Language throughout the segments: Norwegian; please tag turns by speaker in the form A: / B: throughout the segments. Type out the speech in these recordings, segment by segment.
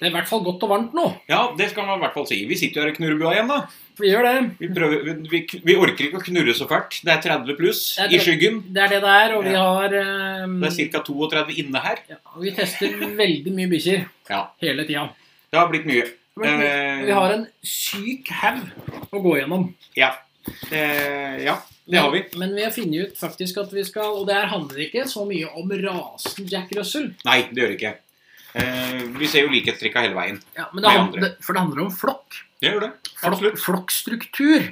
A: Det er i hvert fall godt og varmt nå.
B: Ja, det skal man i hvert fall si. Vi sitter jo her i knurrebua igjen, da.
A: For vi gjør det.
B: Vi, prøver, vi, vi, vi orker ikke å knurre så fælt. Det er 30 pluss
A: Det er
B: i
A: 30.
B: skyggen.
A: Det er det det er, og vi
B: Ja.
A: har ehm,
B: Det er ca. 32 inne her.
A: ja, og Vi tester veldig mye bikkjer
B: Ja,
A: hele tida.
B: det har blitt mye. Eh,
A: Vi har en syk haug å gå gjennom.
B: Ja. Eh, ja, det har vi.
A: Men vi har funnet ut faktisk at vi skal Og det her handler ikke så mye om rasen Jack Russell.
B: Nei, det gjør det ikke. Eh, vi ser jo likhetstrekka hele veien.
A: Ja, men
B: Med
A: det handler,
B: andre.
A: det, for det handler om flokk.
B: Det gjør det.
A: Flokk,
B: Absolutt.
A: flokkstruktur.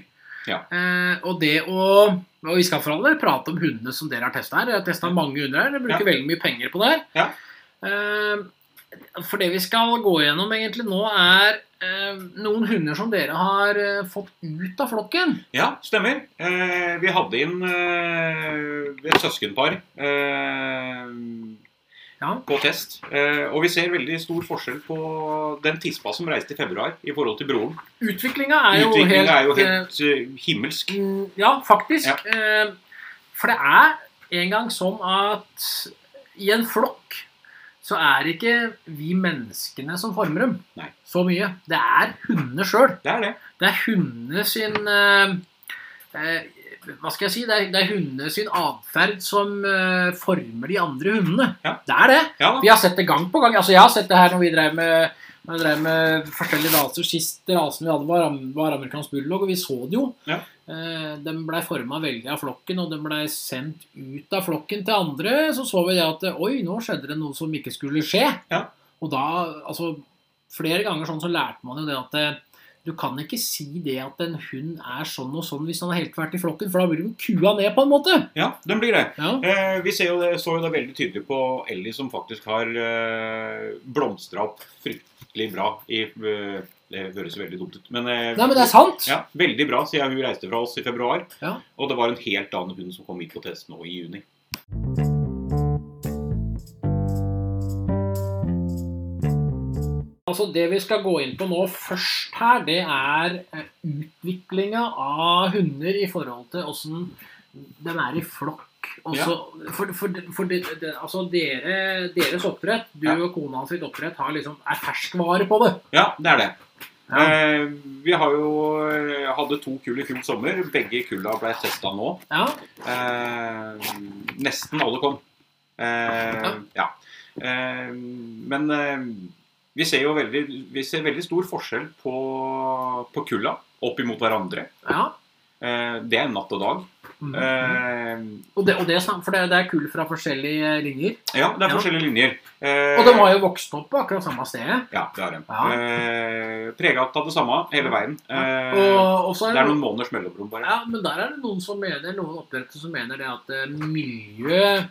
B: Ja.
A: Eh, og det å og Vi skal for all del prate om hundene som dere har testa her. Jeg har testa mange hunder her. Jeg bruker
B: Ja.
A: veldig mye penger på det her.
B: Ja.
A: Eh, for det vi skal gå gjennom egentlig nå, er eh, noen hunder som dere har eh, fått ut av flokken.
B: Ja, stemmer. Eh, vi hadde inn eh, et søskenpar eh,
A: Ja.
B: på test. Eh, og vi ser veldig stor forskjell på den tispa som reiste i februar i forhold til broren.
A: Utviklinga er jo helt,
B: Utviklinga er jo
A: eh,
B: helt eh, himmelsk.
A: Mm, Ja, faktisk.
B: Ja.
A: Eh, For det er en gang sånn at i en flokk så er det ikke vi menneskene som former dem
B: Nei.
A: så mye. Det er hundene sjøl.
B: Det er det.
A: Det er hundene sin eh, eh, Hva skal jeg si? Det er, det er hundene sin atferd som eh, former de andre hundene.
B: Ja.
A: Det er det.
B: Ja, da.
A: Vi har sett det gang på gang. Altså, jeg har sett det her når vi drev med, når vi drev med forskjellige raser. Sist rasen vi hadde, var, am- var amerikansk bulldog, og vi så det jo.
B: Ja.
A: Eh, De blei forma veldig av flokken, og de blei sendt ut av flokken til andre. Så så vi det at oi, nå skjedde det noe som ikke skulle skje.
B: Ja.
A: Og da, altså Flere ganger sånn så lærte man jo det at eh, du kan ikke si det at en hund er sånn og sånn hvis han har helt vært i flokken, for da blir de kua ned på en måte.
B: ja den blir det.
A: Ja.
B: Eh, vi ser jo det, så jo det veldig tydelig på Ellie, som faktisk har eh, blomstra opp fryktelig bra i eh, Det høres jo veldig dumt ut, men, eh,
A: Nei, men det er sant.
B: ja, Veldig bra siden hun reiste fra oss i februar.
A: Ja.
B: Og det var en helt annen hund som kom hit på test nå i juni.
A: Altså Det vi skal gå inn på nå først her, det er eh, utviklinga av hunder i forhold til åssen de er i flokk. Også, For, for, for det, det, altså dere, deres oppdrett, du
B: Ja.
A: og kona sitt oppdrett, har liksom, er ferskvare på det.
B: Ja, det er det.
A: Ja.
B: Eh, vi har jo eh, hadde to kull i fjor sommer. Begge kulla ble testa nå.
A: Ja,
B: Eh, nesten alle kom. Eh,
A: Ja.
B: ja. Eh, men eh, vi ser jo veldig, vi ser veldig stor forskjell på, på kulla opp imot hverandre.
A: ja.
B: Eh, det er natt og dag.
A: Mhm.
B: Eh,
A: Og, det, og det, er sant, for det, det er kull fra forskjellige linjer.
B: ja, det er
A: Ja.
B: forskjellige linjer. Eh,
A: Og de har jo vokst opp på akkurat samme stedet.
B: Ja, det har de.
A: Ja.
B: Eh, Prega av det samme hele veien. Eh,
A: Og, og så er
B: det er noen måneders mellomrom, bare.
A: Ja, men der er det noen som mener, noen oppdrettere som mener det at eh, miljøet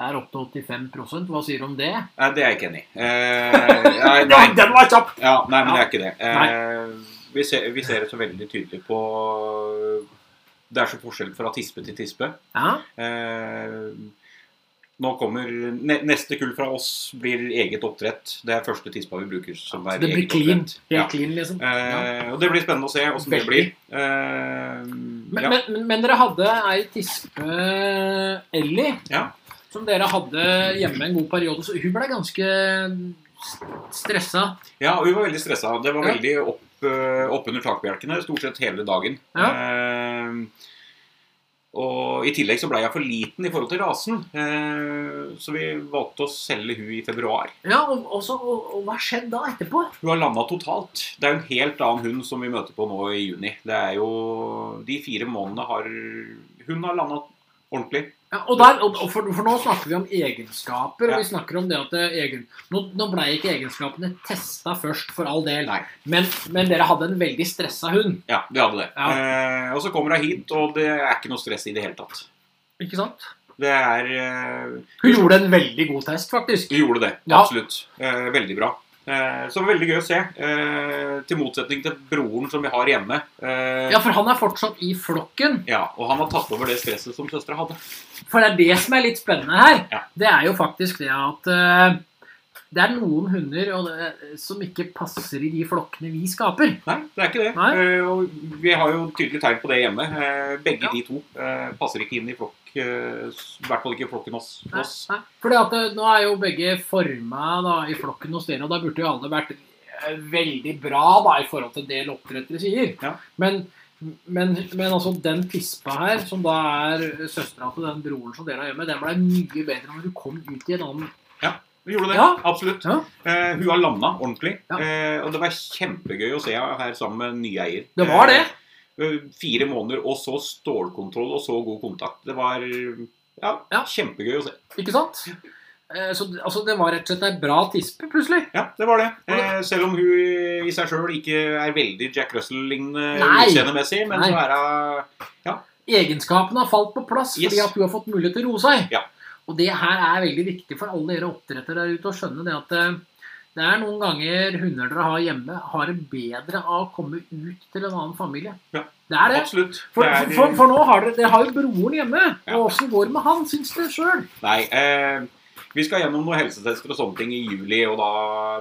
A: er opp til 85 Hva sier du om det?
B: Nei, det er jeg ikke enig i. Eh, nei, nei,
A: Ja, den var kjapp!
B: ja, nei, men
A: Ja.
B: det er ikke det. Eh, vi, ser, vi ser det så veldig tydelig på Det er så forskjell fra tispe til tispe.
A: Ja,
B: Eh, nå kommer ne, Neste kull fra oss blir eget oppdrett. Det er første tispa vi bruker som
A: så
B: er
A: det blir
B: eget
A: clean.
B: oppdrett.
A: Helt
B: Ja.
A: clean, liksom. Ja.
B: Eh, og det blir spennende å se åssen det
A: Veldig.
B: blir. Eh,
A: Men,
B: ja.
A: men, men- men dere hadde ei tispe, eh, Ellie,
B: Ja.
A: som dere hadde hjemme en god periode. Så hun ble ganske st- stressa.
B: Ja, og hun var veldig stressa. Det var
A: Ja.
B: veldig opp, eh, opp under takbjelkene stort sett hele dagen. Eh, og i tillegg så blei jeg for liten i forhold til rasen, eh, så vi valgte å selge hun i februar.
A: Ja, og, og, så, og, og hva skjedde da etterpå?
B: Hun har landa totalt. Det er jo en helt annen hund som vi møter på nå i juni. Det er jo De fire månedene har Hun har landa ordentlig.
A: Ja, og der, og og for, for nå snakker vi om egenskaper, og
B: Ja.
A: vi snakker om det at det er egen, Nå, nå ble ikke egenskapene testa først, for all del.
B: Nei.
A: Men, men dere hadde en veldig stressa hund,
B: Ja, vi hadde det.
A: Ja.
B: Eh, og så kommer hun hit, og det er ikke noe stress i det hele tatt.
A: ikke sant?
B: Det er eh,
A: Hun gjorde en veldig god test, faktisk.
B: Vi gjorde det,
A: Ja.
B: absolutt. Eh, veldig bra. Eh, så veldig gøy å se. Eh, til motsetning til broren som vi har hjemme. Eh,
A: Ja,
B: ja.
A: for han er fortsatt i flokken.
B: Og han har tatt over det stresset som søstera hadde.
A: For det er det som er litt spennende her.
B: Ja.
A: Det er jo faktisk det at eh, det er noen hunder og det, som ikke passer i de flokkene vi skaper.
B: Nei, det er ikke det.
A: Nei.
B: Eh, og vi har jo tydelig tegn på det hjemme. Eh, begge
A: Ja.
B: de to eh, passer ikke inn i flokk. eh, s- I hvert fall ikke flokken hos oss.
A: Fordi at eh, nå er jo begge forma da, i flokken hos dere, og da burde jo alle vært eh, veldig bra da, i forhold til en del oppdrettere sier.
B: Ja.
A: Men, men, men altså, den pispa her, som da er søstera til den broren som dere har hjemme, den blei mye bedre når du kom ut i en annen
B: Vi gjorde det.
A: Ja.
B: Absolutt.
A: Ja.
B: Eh, hun har landa ordentlig.
A: Ja.
B: Eh, og det var kjempegøy å se henne her sammen med nye eier.
A: Det var det!
B: Eh, fire måneder, og så stålkontroll og så god kontakt. Det var ja,
A: Ja.
B: kjempegøy å se.
A: Ikke sant? Eh, Så altså, det var rett og slett ei bra tispe, plutselig.
B: Ja, det var det.
A: Var
B: Eh, selv om hun i seg sjøl ikke er veldig Jack Russell-lignende
A: Nei.
B: utseendemessig, men
A: Nei.
B: så er hun
A: Egenskapene har falt på plass fordi
B: Yes.
A: at du har fått mulighet til å roe seg.
B: Ja.
A: Og det her er veldig viktig for alle dere oppdrettere der ute å skjønne det at eh, det er noen ganger hunder dere har hjemme, har det bedre av å komme ut til en annen familie.
B: Ja.
A: Det er det.
B: Absolutt.
A: For,
B: Det er-
A: for, for, for nå har dere, dere har jo broren hjemme.
B: Ja.
A: Og åssen går det med han, syns dere sjøl?
B: Nei. Eh, vi skal gjennom noen helsetester og sånne ting i juli, og da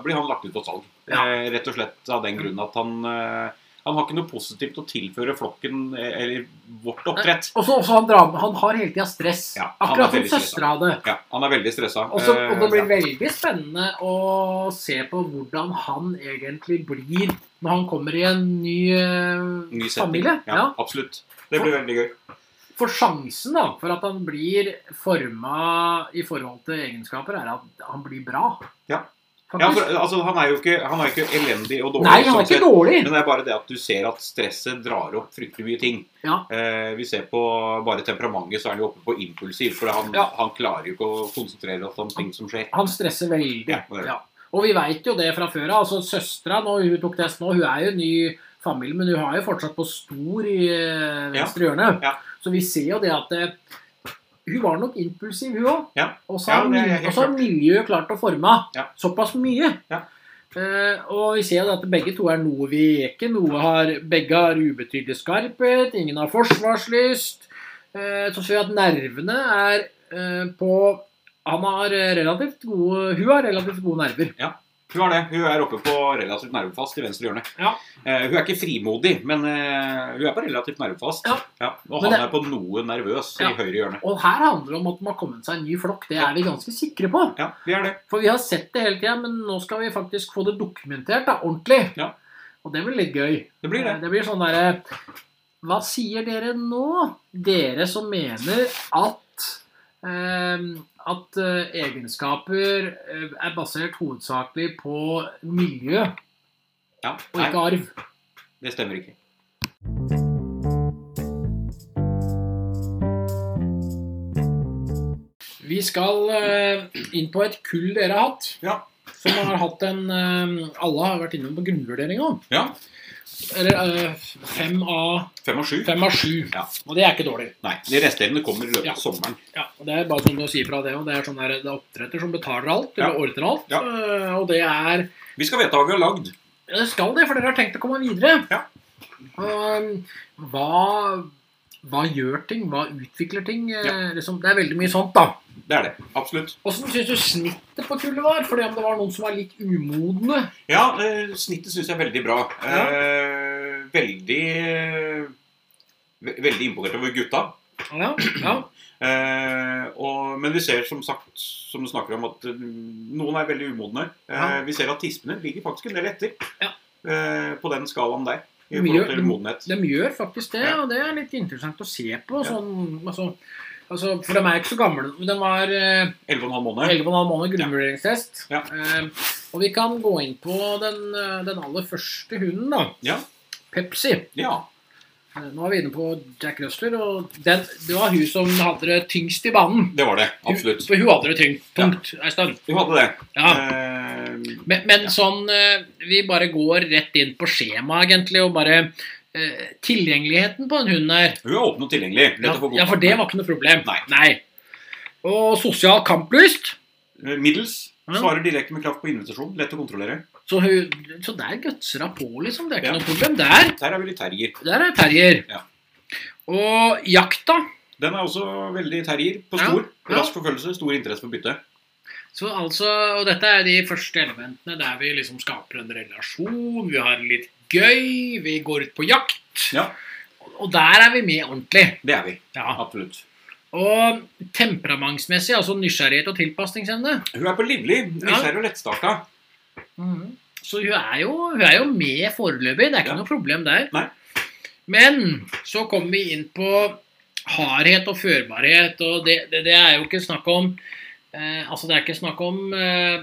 B: blir han lagt ut på salg.
A: Ja.
B: Eh, rett og slett av den grunn at han eh, han har ikke noe positivt å tilføre flokken eh, eller vårt oppdrett.
A: Og så også han, drar, han har hele tida stress.
B: Ja, han er
A: Akkurat som
B: veldig stressa.
A: søstera hadde.
B: Ja, han er veldig stressa.
A: Og, så,
B: Eh,
A: og det blir
B: ja.
A: veldig spennende å se på hvordan han egentlig blir når han kommer i en ny, eh,
B: Ny setting.
A: familie.
B: Ja,
A: Ja.
B: absolutt. Det blir veldig gøy.
A: For sjansen da, for at han blir forma i forhold til egenskaper, er at han blir bra.
B: Ja.
A: Faktisk.
B: Ja, for, altså, han er jo ikke, han er jo ikke elendig og dårlig.
A: Nei, han
B: sånn
A: er ikke
B: sett.
A: dårlig.
B: Men det er bare det at du ser at stresset drar opp fryktelig mye ting.
A: Ja.
B: Eh, vi ser på bare temperamentet, så er han jo oppe på impulsiv. For han,
A: Ja.
B: han klarer jo ikke å konsentrere seg om ting som skjer.
A: Han stresser veldig.
B: Ja, det er det.
A: Ja. Og vi veit jo det fra før av. Altså, Søstera nå, hun tok test nå, hun er jo ny familie, men hun har jo fortsatt på stor i eh, venstre hjørne.
B: Ja.
A: Så vi ser jo det at eh, hun var nok impulsiv, hun òg.
B: Ja.
A: Og så
B: Ja,
A: har
B: det er
A: mil-
B: helt
A: og så har
B: klart.
A: miljøet klart å forme
B: Ja.
A: såpass mye.
B: Ja.
A: Eh, og vi ser jo det at begge to er noe veke. Noe har, begge har ubetydelig skarphet. Ingen har forsvarslyst. Eh, så ser vi at nervene er eh, på han har eh, relativt gode Hun har relativt gode nerver.
B: Hun er det. Hun er oppe på relativt nervefast i venstre hjørne.
A: Ja.
B: Eh, hun er ikke frimodig, men eh, hun er på relativt nervefast.
A: Ja. Men
B: Og han
A: det-
B: er på noe nervøs
A: Ja.
B: i høyre hjørne.
A: Og her handler det om at de har kommet seg en ny flokk. Det er vi ganske sikre på.
B: Ja, vi er det.
A: For vi har sett det hele tida, men nå skal vi faktisk få det dokumentert da, ordentlig.
B: Ja.
A: Og det blir litt gøy.
B: Det blir det.
A: Det blir sånn derre Hva sier dere nå, dere som mener at eh, at eh, egenskaper eh, er basert hovedsakelig på miljø og
B: Ja. Nei,
A: ikke arv?
B: det stemmer ikke.
A: Vi skal eh, inn på et kull dere har hatt.
B: Ja.
A: Som har hatt en eh, Alle har vært innom på grunnvurdering òg.
B: Ja.
A: Eller eh, fem av
B: Fem og sju.
A: fem av sju.
B: Ja.
A: Og det er ikke dårlig.
B: Nei, de resterende kommer i løpet
A: Ja.
B: av sommeren.
A: Ja, og Det er bare som du sier fra det, og det er sånn der, det er oppdretter som betaler alt, eller ordner alt.
B: Ja.
A: eh, og det er
B: Vi skal vite hva vi har lagd.
A: Det skal det, for dere har tenkt å komme videre.
B: Ja.
A: Og, um, hva hva gjør ting? Hva utvikler ting? eh, Liksom, det er veldig mye sånt, da.
B: Det er det. Absolutt.
A: Åssen syns du snittet på kullet var? Fordi om det var noen som var litt umodne?
B: Ja, eh, snittet syns jeg er veldig bra. Eh, veldig eh, ve- Veldig imponert over gutta.
A: Ja, ja.
B: Eh, og, men vi ser som sagt, som du snakker om, at eh, noen er veldig umodne. Eh,
A: Ja.
B: Vi ser at tispene ligger faktisk en del etter
A: Ja.
B: eh, på den skalaen der. I
A: Mye-
B: forhold til modenhet.
A: De gjør faktisk det,
B: Ja.
A: og det er litt interessant å se på.
B: Ja.
A: Sånn, altså, altså, for de er ikke så gamle. De var eh,
B: 11,5 måneder.
A: 11,5 måneder grunnvurderingstest.
B: Ja.
A: Eh, og vi kan gå inn på den, eh, den aller første hunden, da.
B: Ja.
A: Pepsi.
B: Ja.
A: Eh, Nå er vi inne på Jack Russler, og den, det var hun som hadde det tyngst i banen.
B: Det var det. Absolutt.
A: For hun hadde det tyngt, tungt ei stund.
B: Vi hadde det.
A: Ja.
B: Eh,
A: Men, men
B: Ja.
A: sånn eh, Vi bare går rett inn på skjema, egentlig, og bare eh, Tilgjengeligheten på en hund her
B: hun er åpen og tilgjengelig. Lett
A: ja,
B: å få
A: ja, for
B: kontakt
A: det
B: med.
A: var ikke noe problem.
B: Nei.
A: Og sosial kamplyst.
B: Eh, Middels.
A: Ja.
B: Svarer direkte med kraft på invitasjon. Lett å kontrollere.
A: Så, hun, så der gutser hun på, liksom. Det er ikke
B: Ja.
A: noe problem. Der,
B: Der er vi litt terrier.
A: der er terrier.
B: Ja.
A: Og jakta.
B: Den er også veldig terrier på
A: Ja,
B: stor.
A: ja.
B: Rask forfølgelse, stor interesse for bytte.
A: Så altså, og dette er de første elementene der vi liksom skaper en relasjon, vi har det litt gøy, vi går ut på jakt.
B: Ja.
A: Og der er vi med ordentlig.
B: Det er vi.
A: Ja.
B: Absolutt.
A: Og temperamentsmessig, altså nysgjerrighet og tilpasningsevne.
B: Hun er på livlig, nysgjerrig og lettstarta.
A: Så hun er jo, hun er jo med foreløpig. Det er ikke
B: Mhm. Ja.
A: noe problem der.
B: Nei.
A: Men så kommer vi inn på hardhet og førbarhet, og det, det, det er jo ikke snakk om eh, Altså, det er ikke snakk om eh,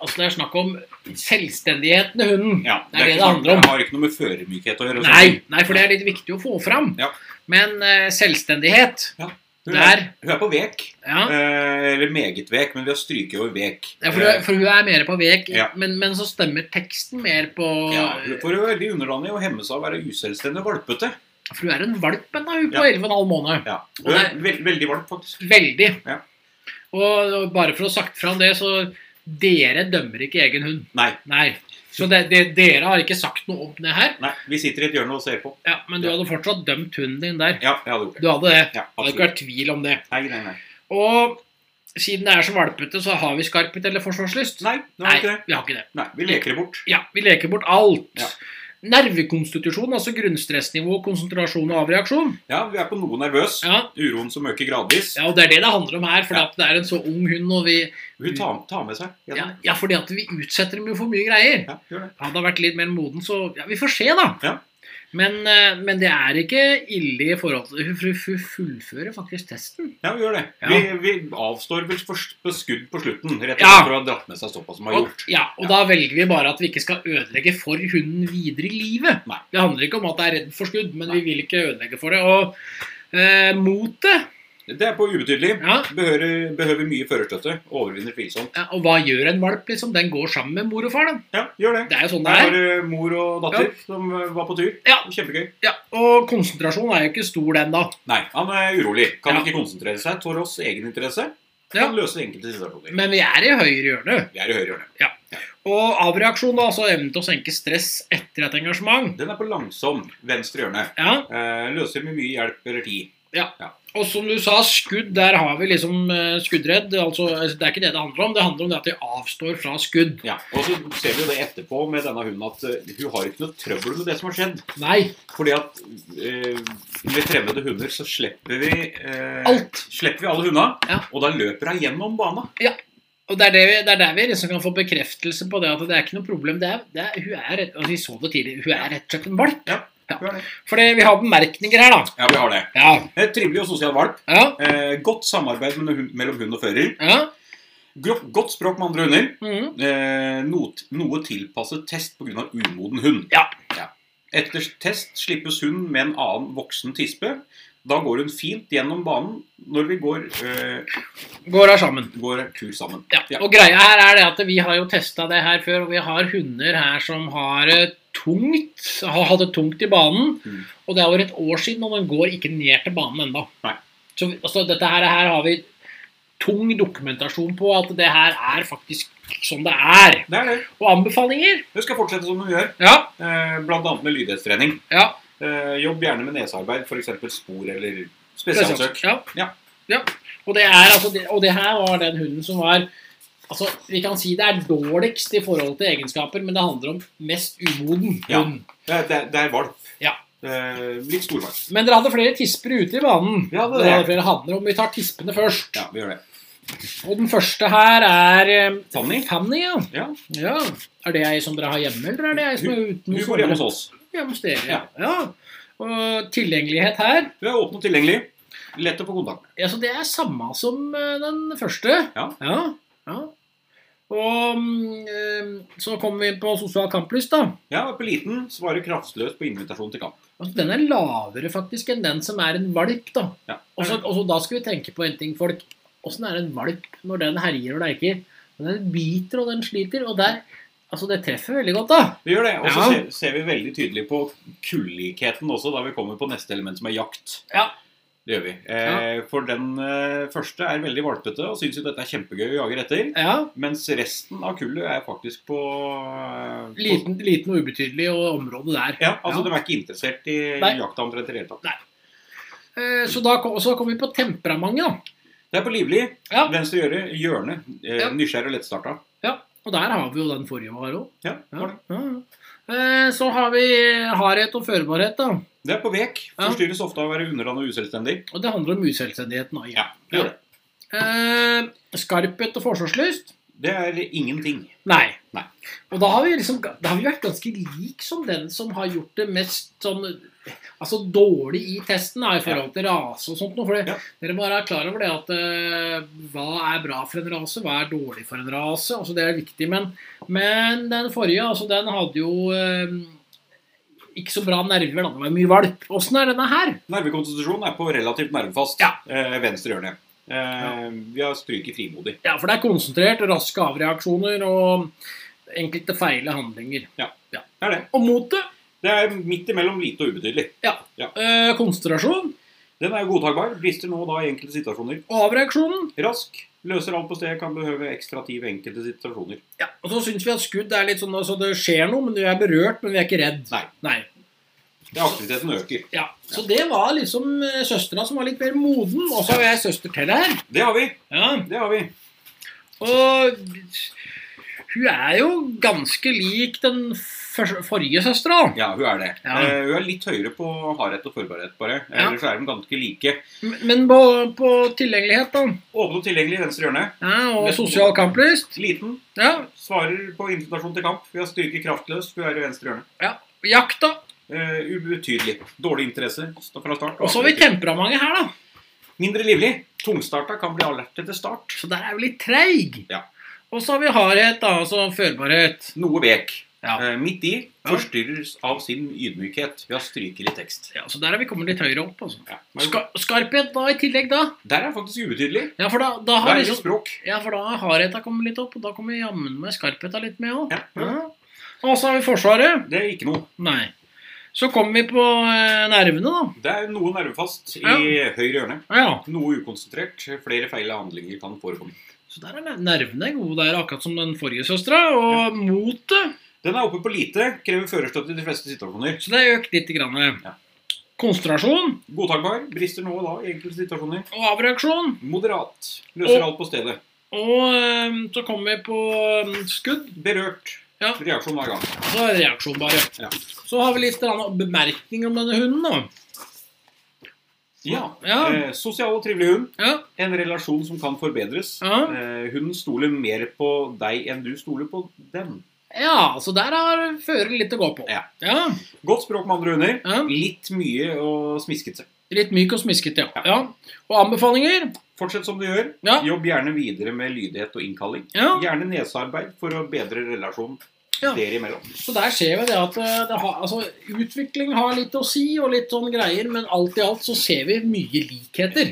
A: Altså, det er snakk om selvstendigheten til hunden.
B: Ja,
A: Det er det
B: ikke
A: det
B: sant-
A: handler om.
B: Det har ikke noe med føremykhet å gjøre. sånn.
A: Nei, nei, for det er litt viktig å få fram.
B: Ja.
A: Men eh, selvstendighet
B: Hun er,
A: der
B: hun er på vek.
A: ja.
B: Eh, eller meget vek, men vi har stryket over vek.
A: Ja, for, hun,
B: Eh,
A: for hun er mer på vek,
B: Ja.
A: men, men så stemmer teksten mer på
B: Eh, ja, for hun er veldig underlandig og hemmes av å være uselvstendig og valpete.
A: For hun er en valp ennå, hun på
B: Ja.
A: 11,5 måneder.
B: Ja.
A: Og
B: Hun er
A: det-
B: veld, veldig valp, faktisk.
A: Veldig.
B: Ja.
A: Og og bare for å ha sagt fram det, så dere dømmer ikke egen hund.
B: Nei,
A: Nei. Så det, det, dere har ikke sagt noe om det her,
B: nei, vi sitter i et hjørne og ser på.
A: ja, men du
B: Ja.
A: hadde fortsatt dømt hunden din der.
B: Ja, jeg hadde gjort det.
A: Du hadde det.
B: Ja,
A: Det hadde ikke
B: absolutt.
A: vært tvil om det.
B: Nei, nei, nei.
A: Og siden det er så valpete, så har vi skarphet eller forsvarslyst.
B: Nei, det var ikke det.
A: vi har ikke det.
B: Nei, vi leker det bort.
A: Ja, vi leker bort alt.
B: Ja.
A: Nervekonstitusjon, altså grunnstressnivå, konsentrasjon og avreaksjon.
B: Ja, vi er på noe nervøs.
A: Ja,
B: Uroen som øker gradvis.
A: ja og Det er det det handler om her, for
B: Ja.
A: at det er en så ung hund. og vi...
B: Hun tar, tar med seg.
A: Ja,
B: gjennom.
A: ja, fordi at vi utsetter dem jo for mye greier.
B: Ja, gjør det.
A: Hadde han vært litt mer moden, så ja, Vi får se, da.
B: Ja.
A: Men, eh, men det er ikke ille i forhold til Hun hun- hun fullfører faktisk testen.
B: Ja, vi gjør det.
A: Ja.
B: Vi, vi avstår vel for, for skudd på slutten, rett og
A: Ja.
B: slett for å ha dratt med seg såpass som hun har
A: Og,
B: gjort.
A: ja, og da velger vi bare at vi ikke skal ødelegge for hunden videre i livet.
B: Nei.
A: Det handler ikke om at det er redd for skudd, men vi vil ikke ødelegge for det. Og eh, motet
B: Det er på ubetydelig.
A: ja,
B: Behøver, behøver mye førerstøtte. Overvinner tvilsomt.
A: Ja, Og hva gjør en valp, liksom? Den går sammen med mor og far, den.
B: Ja, gjør det.
A: Det er jo sånn det
B: Der var
A: er.
B: det eh, mor og datter som eh, var på tur.
A: Ja.
B: Kjempegøy.
A: Ja, og konsentrasjonen er jo ikke stor, den, da.
B: Nei, han er urolig. Kan
A: Ja.
B: ikke konsentrere seg. Tår oss egeninteresse.
A: Ja.
B: Kan løse enkelte situasjoner.
A: Men vi er i høyre hjørne.
B: Vi er i høyre hjørne.
A: Og avreaksjon, da, altså evnen til å senke stress etter et engasjement.
B: Den er på langsom venstre hjørne.
A: Ja,
B: Eh, løser med mye hjelp eller tid.
A: Og som du sa, skudd, der har vi liksom eh, skuddredd. Altså, det er ikke det det handler om. Det handler om det at de avstår fra skudd.
B: Ja, Og så ser vi jo det etterpå med denne hunden at eh, hun har ikke noe trøbbel med det som har skjedd.
A: Nei.
B: Fordi at eh, med fremmede hunder så slipper vi eh,
A: Alt.
B: Slipper vi alle hundene,
A: Ja.
B: og da løper hun gjennom bana.
A: Og det er, det, vi, det er der vi liksom kan få bekreftelse på det at det er ikke noe problem. Det er, det er, hun er, altså, vi så det tidlig, hun er rett og slett en valp.
B: Hør det.
A: For det- vi har bemerkninger her, da.
B: Ja, vi har det.
A: Ja.
B: Eh, trivelig og sosial valp.
A: Ja.
B: Eh, godt samarbeid mellom hun- mellom hund og fører.
A: ja.
B: Gro- Godt språk med andre hunder.
A: Mhm.
B: Eh, not, noe tilpasset test pga. umoden hund.
A: Ja.
B: Etter test slippes hun med en annen voksen tispe. Da går hun fint gjennom banen når vi går, eh,
A: Går her sammen.
B: går tur sammen.
A: Ja.
B: Ja.
A: Og greia her er det at vi har jo testa det her før, og vi har hunder her som har eh, tungt, har hatt det tungt i banen.
B: Mm.
A: Og det er over et år siden, og den går ikke ned til banen ennå.
B: Nei.
A: Så vi- altså, dette her, her har vi tung dokumentasjon på at det her er faktisk sånn det er.
B: Det er det.
A: Og anbefalinger.
B: Hun skal fortsette som hun gjør,
A: Ja.
B: eh, bl.a. med lydighetstrening.
A: ja.
B: Eh, jobb gjerne med nesearbeid, f.eks. spor eller spesialsøk.
A: Ja.
B: Ja.
A: Ja. Og, det er, altså, det, og det her var den hunden som var Altså, Vi kan si det er dårligst i forhold til egenskaper, men det handler om mest umoden
B: Ja.
A: hund.
B: Eh, Det, er- det, er- det er valp.
A: Ja.
B: Eh, litt storvalp.
A: Men dere hadde flere tisper ute i banen.
B: Vi hadde det.
A: Dere hadde flere hanner, om vi tar tispene først.
B: Ja, vi gjør det.
A: Og den første her er eh,
B: Fanny.
A: Fanny, ja.
B: Ja.
A: ja. Er det ei som dere har hjemme, eller er det ei som er uten
B: Hun bor hjemme hos oss.
A: Hjemme hos dere, ja. ja. Og tilgjengelighet her
B: Hun er åpen og tilgjengelig. Lett å få kontakt med.
A: ja, så Det er samme som eh, den første.
B: Ja.
A: ja. ja. Og mm, eh, så kommer vi inn på sosial kamplyst, da.
B: Ja, på liten svarer kraftløst på invitasjon til kamp.
A: Altså, den er lavere faktisk enn den som er en valp. da.
B: Ja.
A: Og så- og så da skal vi tenke på en ting, folk. Åssen er en valp når den herjer og leker? Den biter og den sliter, og der Altså, det treffer veldig godt, da.
B: Vi gjør det, Og så
A: Ja.
B: ser, ser vi veldig tydelig på kullikheten også, da vi kommer på neste element, som er jakt.
A: Ja.
B: Det gjør vi. Eh, for den eh, første er veldig valpete og syns jo dette er kjempegøy å jage etter.
A: Ja.
B: Mens resten av kullet er faktisk på eh, på-
A: Liten, liten og ubetydelig og område der.
B: Ja, altså
A: Ja.
B: De er ikke interessert i
A: Nei.
B: jakta omtrent i det hele tatt.
A: Eh, Så da kom, og så kommer vi på temperamentet, da.
B: Det er på livlig.
A: Ja.
B: Venstre hjøre, hjørne. Eh,
A: Ja.
B: Nysgjerrig og lettstarta.
A: Ja, Og der har vi jo den forrige vi var òg.
B: Ja, det var det.
A: Eh, Så har vi hardhet og førbarhet, da.
B: Det er på vek.
A: Ja.
B: Forstyrres ofte av å være underland og uselvstendig.
A: Og det handler om uselvstendigheten. da, igjen.
B: Ja, det gjør det.
A: Eh, Skarphet og forsvarslyst.
B: Det er ingenting.
A: Nei.
B: Nei.
A: Og da har vi liksom Da har vi vært ganske lik som den som har gjort det mest sånn Altså dårlig i testen da, i forhold til rase og sånt noe. For det-
B: Ja.
A: dere bare er klar over det at eh, hva er bra for en rase, hva er dårlig for en rase? Altså det er viktig. Men, men den forrige, altså den hadde jo eh, ikke så bra nerver. Da. Det var mye valp. Åssen er denne her?
B: Nervekonstitusjon er på relativt nervefast
A: Ja.
B: eh, venstre hjørne. Eh, Vi har stryket frimodig.
A: Ja, for det er konsentrert, raske avreaksjoner og enkelte feile handlinger.
B: Det er det.
A: Og motet?
B: Det er midt imellom lite og ubetydelig.
A: Eh, konsentrasjon.
B: Den er jo godtakbar. Brister nå og da i enkelte situasjoner.
A: Og avreaksjonen.
B: Rask. Løser alt på stedet. Kan behøve ekstra tid ved enkelte situasjoner.
A: Ja, og så syns vi at skudd er litt sånn altså det skjer noe, men vi er berørt, men vi er ikke redd.
B: Nei. Det er aktiviteten øker.
A: Ja, Så det var liksom eh, søstera som var litt mer moden. Og så har jeg søster til her.
B: Det har vi.
A: Ja.
B: Det har vi.
A: Og hun er jo ganske lik den før- forrige søstera.
B: Ja, hun er det.
A: Ja.
B: Eh, hun er litt høyere på hardhet og forberedt, bare.
A: Ja.
B: Ellers er de ganske like.
A: Men på, på tilgjengelighet, da.
B: Åpne og tilgjengelig i venstre hjørne.
A: Ja, og sosial kamplyst.
B: Liten.
A: Ja,
B: Svarer på invitasjon til kamp. Hun har styrke kraftløs. Hun er i venstre hjørne.
A: Jakt, da.
B: Eh, ubetydelig. Dårlig interesse sta- fra start.
A: Og så har vi temperamentet her, da.
B: Mindre livlig. Tungstarta kan bli alert etter start.
A: Så der er jo litt treig.
B: Ja.
A: Og så har vi hardhet, da, altså førbarhet.
B: Noe vek.
A: Ja.
B: Eh, midt i.
A: Ja.
B: Forstyrres av sin ydmykhet. Hun har strykelig tekst.
A: Ja, Så der har vi kommet litt høyere opp, altså.
B: Ja. Men
A: Ska skarphet da i tillegg, da?
B: der er faktisk ubetydelig.
A: Ja, for da, da
B: Der
A: har
B: er det
A: liksom
B: språk.
A: Ja, for da har hardheta kommet litt opp, og da kommer jammen meg skarpheta litt med òg.
B: Ja.
A: Og så har vi Forsvaret.
B: Det er ikke noe.
A: Nei. Så kommer vi på eh, nervene, da.
B: Det er noe nervefast i
A: Ja.
B: høyre hjørne.
A: Ja, Ja,
B: Noe ukonsentrert. Flere feil handlinger kan forekomme.
A: Så der er ner- nervene gode der, akkurat som den forrige søstera. Og motet.
B: Den er oppe på lite, krever førerstøtte i de fleste situasjoner.
A: Så det er økt lite grann. eh.
B: Ja.
A: Konsentrasjon
B: Godtakbar, brister nå og da i enkelte situasjoner.
A: og avreaksjon.
B: Moderat, løser
A: Og-
B: alt på stedet.
A: Og ehm, så kommer vi på ehm, skudd.
B: Berørt,
A: Ja.
B: reaksjon hver gang.
A: Så er det reaksjon, bare.
B: Ja.
A: Så har vi litt grann bemerkning om denne hunden, da.
B: Ja.
A: Ja.
B: Eh, sosial og trivelig hund.
A: Ja.
B: En relasjon som kan forbedres.
A: Ja.
B: Eh, hunden stoler mer på deg enn du stoler på den.
A: ja, så der har fører litt å gå på.
B: Ja.
A: ja.
B: Godt språk med andre hunder.
A: ja.
B: Litt mye og smiskete.
A: Litt myk og smisket, ja. ja. Og anbefalinger?
B: Fortsett som du gjør.
A: Ja.
B: Jobb gjerne videre med lydighet og innkalling.
A: Ja.
B: Gjerne nesearbeid for å bedre relasjonen
A: Ja.
B: dere imellom.
A: Så der ser vi det at eh, det har, altså, utvikling har litt å si, og litt sånn greier, men alt i alt så ser vi mye likheter.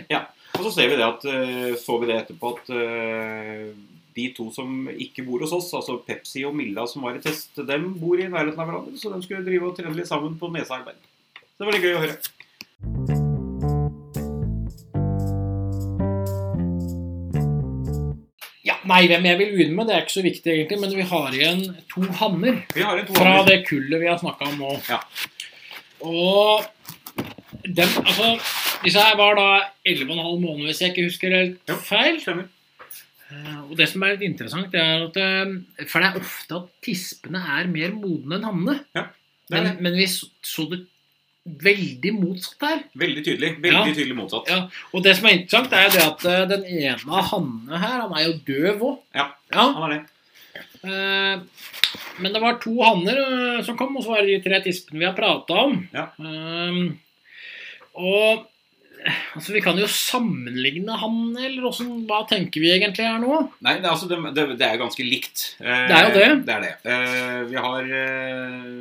B: Og så ser vi det at, eh, så vi det etterpå at eh, de to som ikke bor hos oss, altså Pepsi og Milla som var i test, dem bor i nærheten av hverandre, så de skulle drive og trene litt sammen på nesearbeid. Så det var litt gøy å høre.
A: Ja, Nei, hvem jeg vil begynne med, det er ikke så viktig egentlig, men vi har igjen to hanner.
B: Vi har en to
A: fra det kullet vi har snakka om nå.
B: Ja.
A: Og den, altså, disse her var da 11,5 måneder, hvis jeg ikke husker helt
B: Jo.
A: feil.
B: Stemmer.
A: Eh, Og det som er litt interessant, det er at eh, For det er ofte at tispene er mer modne enn hannene.
B: Det
A: Men,
B: er
A: men vi så, så det veldig motsatt her.
B: veldig tydelig.
A: Ja.
B: Veldig tydelig motsatt.
A: Ja. Og det som er interessant, er jo det at eh, den ene av hannene her, han er jo døv òg.
B: Ja.
A: ja.
B: Han er det.
A: Eh, Men det var to hanner eh, som kom, og så var det de tre tispene vi har prata om.
B: Ja.
A: Ehm, og eh, altså, vi kan jo sammenligne han, eller åssen Hva tenker vi egentlig her nå?
B: Nei, det er, altså, det, det, det er ganske likt. Eh,
A: Det er jo det.
B: Det er det. Eh, vi har eh,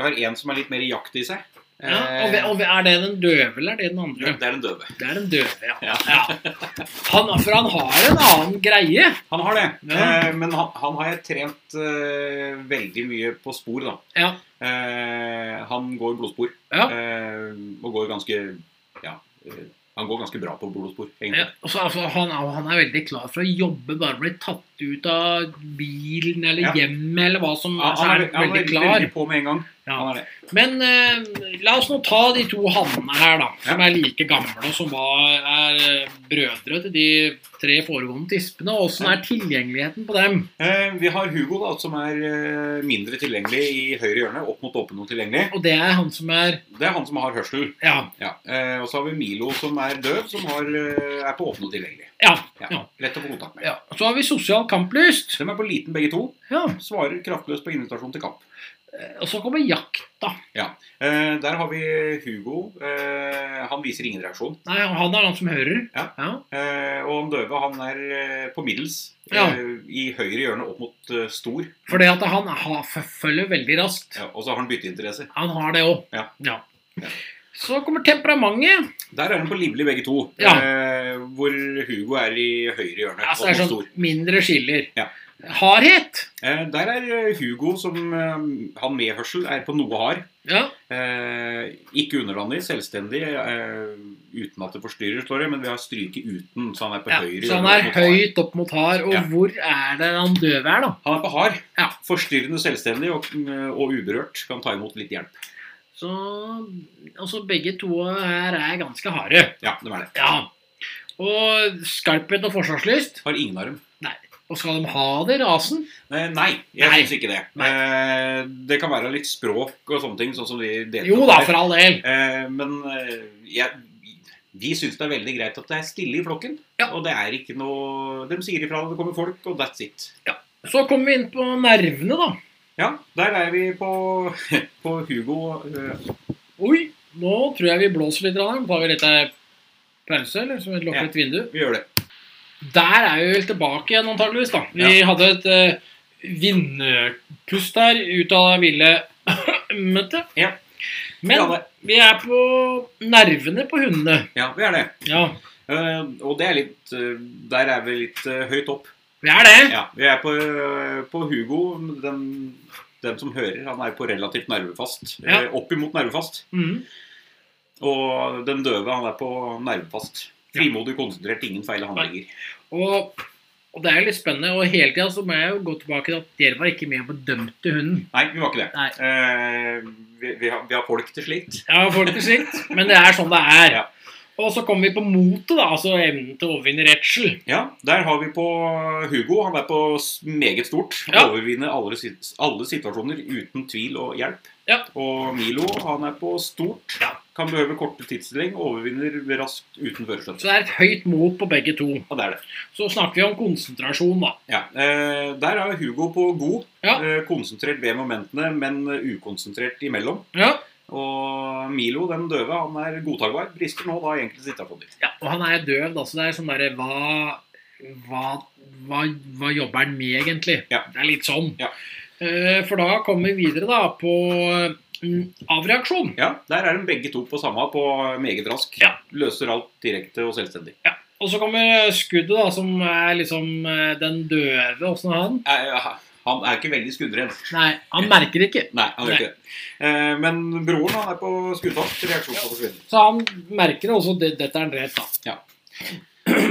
B: vi har en som er litt mer i jakt i seg.
A: Ja, og, ve-
B: Eh,
A: og ve- Er det den døve, eller er det den andre?
B: det er en døve.
A: Det er den døve, ja.
B: Ja.
A: ja. Han, for han har en annen greie.
B: Han har det,
A: Ja.
B: eh, men han, han har jeg trent eh, veldig mye på spor, da.
A: Ja.
B: Eh, han går blodspor,
A: Ja.
B: eh, og går ganske Ja, eh, han går ganske bra på blodspor, egentlig.
A: Ja, og så, altså, han, er- han er veldig klar for å jobbe, bare bli tatt ut av bilen eller
B: Ja.
A: hjemmet eller hva som
B: Han,
A: så
B: han,
A: er
B: er, han er
A: veldig klar.
B: veldig, på med en gang.
A: Ja.
B: Han er det.
A: Men eh, la oss nå ta de to hannene her, da. Som er like gamle, og som var, er eh, brødre til de tre foregående tispene. og Åssen er tilgjengeligheten på dem?
B: Eh, Vi har Hugo, da, som er eh, mindre tilgjengelig i høyre hjørne, opp mot åpen og tilgjengelig.
A: Og det er han som er
B: Det er han som har hørsel.
A: Ja.
B: Ja. Eh, Og så har vi Milo, som er døv, som har, eh, er på åpen og tilgjengelig.
A: ja,
B: Ja.
A: Ja.
B: Lett å få kontakt med.
A: ja. Så har vi sosial kamplyst.
B: De er på liten begge to.
A: Ja.
B: Svarer kraftløst på invitasjon til kamp.
A: Og så kommer jakt, da.
B: Eh, Der har vi Hugo. Eh, Han viser ingen reaksjon.
A: Nei, han er han som hører.
B: Ja.
A: ja.
B: Eh, Og han døve, han er eh, på middels. eh,
A: Ja.
B: I høyre hjørne opp mot eh, stor.
A: Fordi at han har, følger veldig raskt.
B: Ja, Og så har han bytteinteresser.
A: Han har det òg.
B: Ja. Ja.
A: Så kommer temperamentet.
B: Der er han på livlig begge to.
A: Ja.
B: Eh, Hvor Hugo er i høyre hjørne.
A: Altså
B: opp
A: det er sånn
B: mot stor.
A: mindre skiller.
B: Ja.
A: Hardhet.
B: Eh, Der er eh, Hugo, som eh, han med hørsel, er på noe hard.
A: Ja.
B: Eh, ikke underlandig, selvstendig, eh, uten at det forstyrrer, står det. Men vi har stryket uten, så han er på
A: ja.
B: høyre.
A: Så han er
B: hjørne mot hard.
A: høyt opp mot hard. Og
B: Ja.
A: hvor er det han døve er, da?
B: Han er på hard.
A: Ja.
B: Forstyrrende, selvstendig og, mm, og uberørt. Kan ta imot litt hjelp.
A: Så altså, begge to her er ganske harde.
B: Ja, det er det.
A: Ja. Og skarphet og forsvarslyst.
B: Har ingen av dem.
A: Og skal de ha det i rasen?
B: Eh, Nei, jeg
A: Nei.
B: syns ikke det.
A: Nei.
B: Eh, det kan være litt språk og sånne ting. Sånn som de deler
A: Jo
B: opp
A: da,
B: her.
A: for all del.
B: Eh, men eh, jeg, vi syns det er veldig greit at det er stille i flokken.
A: Ja.
B: Og det er ikke noe De sier ifra når det kommer folk, og that's it.
A: Så kommer vi inn på nervene, da.
B: Ja, der er vi på, på Hugo. eh,
A: Oi, nå tror jeg vi blåser litt. Ranheim. Tar vi litt eh, pause, eller? Som et lukket vindu.
B: Vi gjør det.
A: Der er vi vel tilbake igjen, antageligvis, da. Vi hadde et uh, vinnerpust der ut av det ville møtet.
B: Ja.
A: Men
B: Ja, det-
A: vi er på nervene på hundene.
B: Ja, vi er det.
A: Ja,
B: Eh, og det er litt eh, Der er vi litt eh, høyt opp.
A: vi er det.
B: Ja, Vi er på, eh, på Hugo. Den, den som hører, han er på relativt nervefast.
A: Ja.
B: Eh, opp imot nervefast.
A: Mhm.
B: Og den døve, han er på nervefast. Frimodig, konsentrert, ingen feil handlinger.
A: Og, og det er jo litt spennende. Og hele tida så må jeg jo gå tilbake til at dere var ikke med og bedømte hunden.
B: Nei, vi var ikke det.
A: Nei.
B: Eh, vi, vi, har, vi har folk til slikt.
A: Ja, folk på sikt, men det er sånn det er.
B: Ja.
A: Og så kommer vi på motet, da. Altså evnen til å overvinne redsel.
B: Ja, Der har vi på Hugo. Han er på s- meget stort.
A: Ja.
B: Overvinner alle, sit- alle situasjoner uten tvil og hjelp.
A: Ja.
B: Og Milo han er på stort. Kan behøve korte tidsstilling. Overvinner raskt
A: Så
B: uten førerstøtte.
A: det er et høyt mot på begge to.
B: Ja, det er det.
A: Så snakker vi om konsentrasjon, da.
B: Ja. Eh, der er Hugo på god.
A: Ja.
B: Eh, konsentrert ved momentene, men ukonsentrert imellom.
A: Ja.
B: Og Milo, den døve, han er godtakbar. Brister nå da i enkelte situasjoner.
A: Og han er døv, da, så det er sånn derre hva, hva, hva, hva jobber han med, egentlig?
B: Ja.
A: Det er litt sånn.
B: Ja.
A: Eh, For da kommer vi videre, da, på mm, avreaksjon.
B: Ja, Der er de begge to på samme, på meget rask.
A: Ja.
B: Løser alt direkte og selvstendig.
A: Og så kommer skuddet, da, som er liksom eh, den døve. Åssen er han?
B: Eh, Han er ikke veldig skuddredd.
A: Nei, han merker ikke.
B: Nei, han er
A: Nei.
B: ikke det. Eh, Men broren han er på skuddfast. Reaksjonsfall forsvinner.
A: Så han merker også det, dette er en rett, da.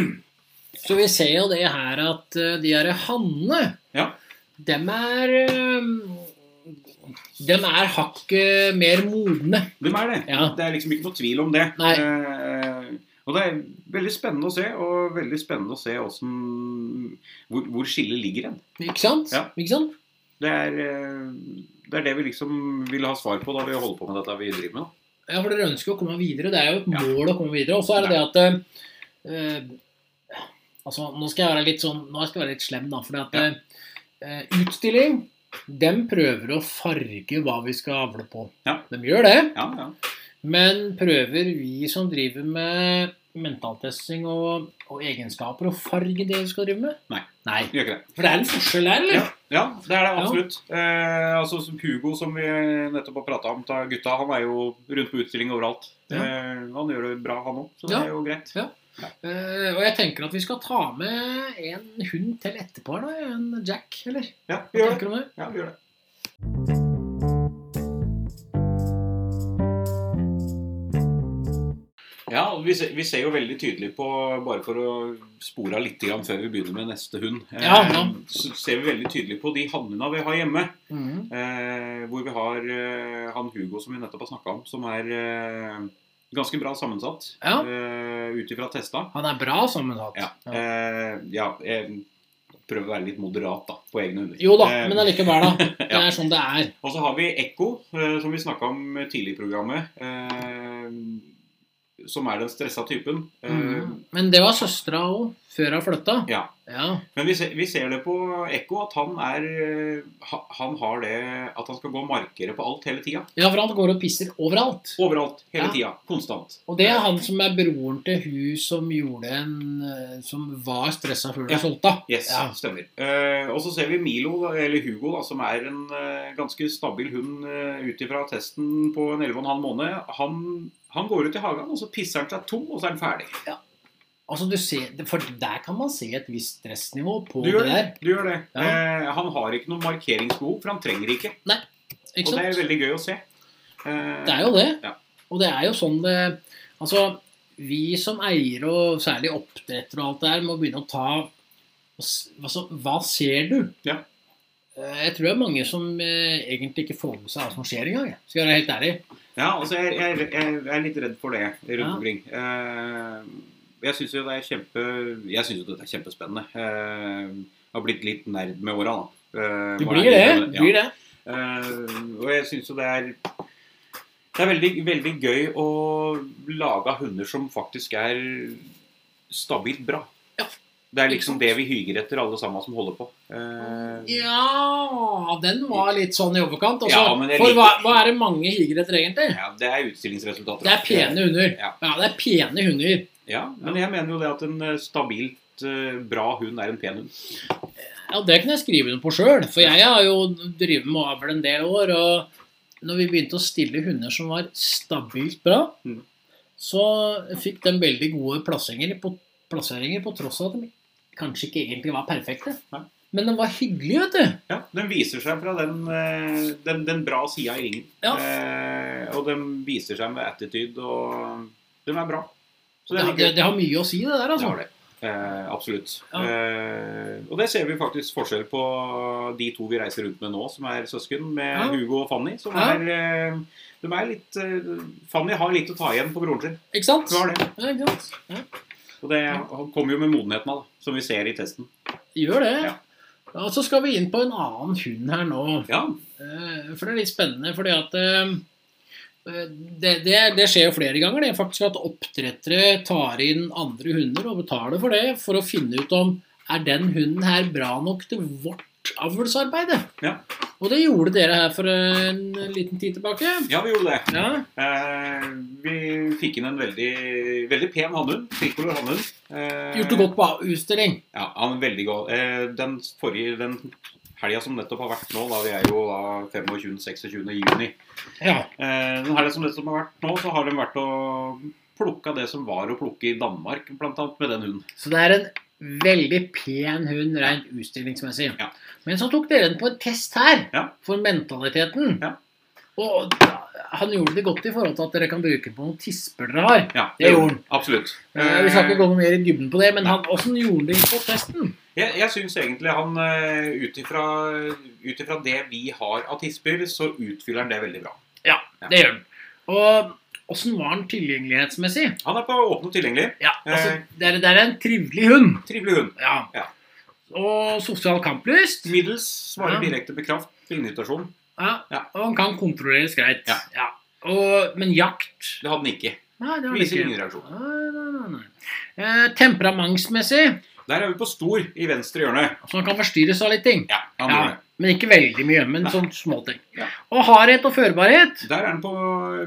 A: Så vi ser jo det her at eh, de her hannene,
B: Ja.
A: dem er eh, Dem er hakket mer modne.
B: De er det.
A: Ja.
B: Det er liksom ikke noe tvil om det.
A: Nei.
B: Eh, Og det er veldig spennende å se, og veldig spennende å se hvordan, hvor, hvor skillet ligger hen.
A: Ikke sant?
B: Ja.
A: Ikke sant?
B: Det er, eh, det er det vi liksom vil ha svar på da vi holder på med dette vi driver med. nå.
A: Ja, for dere ønsker å komme videre. Det er jo et
B: Ja.
A: mål å komme videre. Og så er det det at eh, eh, Altså, nå skal jeg være litt sånn Nå skal jeg være litt slem, da. For at
B: Ja.
A: eh, utstilling, dem prøver å farge hva vi skal avle på.
B: Ja.
A: De gjør det.
B: Ja, ja.
A: Men prøver vi som driver med mentaltesting og, og egenskaper, å farge det vi skal drive med?
B: Nei.
A: Nei.
B: Gjør ikke det.
A: For det er en forskjell der, eller?
B: Ja, ja det er det absolutt. Eh, altså som Hugo, som vi nettopp har prata om av gutta, han er jo rundt på utstilling overalt.
A: Ja.
B: Eh, han gjør det bra, han òg, så det
A: Ja.
B: er jo greit.
A: Eh, og jeg tenker at vi skal ta med en hund til etterpå, da. En Jack, eller?
B: Ja, vi
A: Hva
B: gjør det.
A: tenker du om det?
B: Ja, vi gjør det. Ja, og vi, ser, vi ser jo veldig tydelig på, bare for å spore av litt grann før vi begynner med neste hund, eh,
A: Ja, ja.
B: så ser vi veldig tydelig på de hannhunda vi har hjemme.
A: Mhm.
B: Eh, hvor vi har eh, han Hugo som vi nettopp har snakka om, som er eh, ganske bra sammensatt
A: Ja.
B: eh, ut ifra testa.
A: Han er bra sammensatt.
B: Ja. Eh, ja, jeg prøver å være litt moderat da, på egne hunder.
A: Jo da,
B: Eh,
A: men allikevel, da. Det
B: Ja.
A: er sånn det er.
B: Og så har vi Ekko, eh, som vi snakka om tidlig i programmet. Eh, som er den stressa typen. Eh,
A: Mhm. Men det var søstera òg, før hun flytta.
B: Ja.
A: Ja.
B: Men vi ser, vi ser det på Ekko at han er eh, ha- Han har det at han skal gå markere på alt hele tida.
A: ja, for han går og pisser overalt.
B: Overalt. Hele
A: Ja.
B: tida. Konstant.
A: Og det er han som er broren til hun som gjorde en eh, Som var stressa før hun
B: Ja.
A: solgte.
B: Yes,
A: Ja.
B: stemmer. Eh, og så ser vi Milo, da, eller Hugo, da, som er en eh, ganske stabil hund uh, ut ifra testen på en 11,5 måned. Han, han går ut i hagen, og så pisser han seg tom, og så er han ferdig.
A: Altså, du ser, for der kan man se et visst stressnivå på
B: Du gjør
A: det
B: det.
A: der.
B: Du gjør det.
A: Ja.
B: Eh, han har ikke noe markeringsbehov, for han trenger ikke.
A: Ikke
B: Og det
A: sant?
B: er veldig gøy å se. Eh,
A: Det er jo det.
B: Ja.
A: Og det er jo sånn det Altså, vi som eier, og særlig oppdretter og alt det her, må begynne å ta Altså, hva ser du?
B: Ja.
A: Eh, Jeg tror det er mange som eh, egentlig ikke får med seg hva som skjer engang. jeg. Skal jeg være helt ærlig.
B: Ja, altså jeg, jeg, jeg, jeg er litt redd for det rundt
A: Ja.
B: omkring. Eh, jeg syns jo det er kjempe Jeg synes jo dette er kjempespennende. Eh, jeg har blitt litt nerd med åra, da. Eh,
A: Du
B: hva
A: blir
B: er
A: det. Du
B: Ja.
A: blir det.
B: Eh, og jeg syns jo det er Det er veldig, veldig gøy å lage hunder som faktisk er stabilt bra.
A: Ja.
B: Det er
A: Ikke
B: liksom
A: sant?
B: det vi hyger etter, alle sammen som holder på. Eh,
A: Ja Den var litt sånn i overkant. Altså,
B: Ja, men jeg
A: for
B: liker-
A: hva, hva er det mange higer etter, egentlig?
B: ja, det er utstillingsresultater.
A: Det er pene hunder.
B: Ja.
A: Ja, det er pene hunder.
B: Ja, men jeg mener jo det at en eh, stabilt eh, bra hund er en pen hund.
A: Ja, det kan jeg skrive under på sjøl, for jeg har jo drevet med avl en del år. Og når vi begynte å stille hunder som var stabilt bra,
B: Mm.
A: så fikk de veldig gode plasseringer på, plasseringer på tross av at de kanskje ikke egentlig var perfekte.
B: Nei.
A: Men de var hyggelige, vet du.
B: Ja, Den viser seg fra den, eh, den, den bra sida i ringen.
A: Ja.
B: Eh, og den viser seg med attitude, og den er bra. Så
A: Det,
B: den er
A: det,
B: gøy.
A: det har mye å si, det der,
B: Det
A: altså.
B: har det. Eh, absolutt.
A: Ja.
B: Eh, og det ser vi faktisk forskjell på de to vi reiser rundt med nå, som er søsken, med
A: Ja.
B: Hugo og Fanny. Som
A: Ja.
B: er, eh, de er litt eh, Fanny har litt å ta igjen på broren sin.
A: Ikke sant?
B: Hun har det.
A: Ja, ikke sant? Ja.
B: Og det kommer jo med modenheten av, da, som vi ser i testen.
A: Gjør det.
B: Ja.
A: Ja, og så skal vi inn på en annen hund her nå.
B: Ja,
A: Eh, For det er litt spennende, fordi at eh, det, det, det skjer jo flere ganger. Det er faktisk at oppdrettere tar inn andre hunder og betaler for det, for å finne ut om er den hunden her bra nok til vårt avlsarbeid.
B: Ja.
A: Og det gjorde dere her for en liten tid tilbake.
B: ja vi gjorde det.
A: Ja,
B: Eh, vi fikk inn en veldig, veldig pen hannhund. Tricolor hannhund. Eh,
A: Gjort det godt på utstilling.
B: Ja, han er veldig god. Eh, den forrige den helga som nettopp har vært nå, da vi er jo da 25.-26. juni
A: Ja.
B: eh, Den helga som nettopp har vært nå, så har de vært og plukka det som var å plukke i Danmark, blant annet, med den hunden.
A: Så det er en veldig pen hund rent utstillingsmessig.
B: Ja.
A: Men så tok dere den på en test her,
B: Ja.
A: for mentaliteten.
B: Ja.
A: Og han gjorde det godt i forhold til at dere kan bruke den på noen tisper dere har.
B: Ja,
A: Det gjorde han.
B: Absolutt.
A: Eh, Vi skal ikke gå noe mer i dybden på det, men han, hvordan gjorde han det på testen?
B: Jeg, jeg syns egentlig han eh, ut ifra ut ifra det vi har av tisper, så utfyller han det veldig bra. Ja.
A: Det gjør han. Og hvordan var han tilgjengelighetsmessig?
B: Han er på åpen og tilgjengelig.
A: Ja, altså,
B: Eh.
A: det, er, det er en trivelig hund.
B: Trivelig hund.
A: Ja.
B: Ja.
A: Og sosial kamplyst.
B: Middels
A: Ja.
B: svarer direkte med kraft på invitasjon.
A: Ja.
B: Ja.
A: Og han kan kontrolleres greit.
B: Ja.
A: Og, men jakt
B: Det hadde han ikke.
A: Nei, det har han
B: Viser
A: ikke.
B: ingen reaksjon.
A: Nei, nei, nei, nei. Eh, temperamentsmessig,
B: Der er vi på stor i venstre hjørne.
A: så han kan forstyrres av litt ting.
B: Ja, han
A: Ja,
B: gjør det.
A: men ikke veldig mye, men
B: Nei.
A: sånn småting.
B: Ja.
A: Og hardhet og førbarhet.
B: Der er han på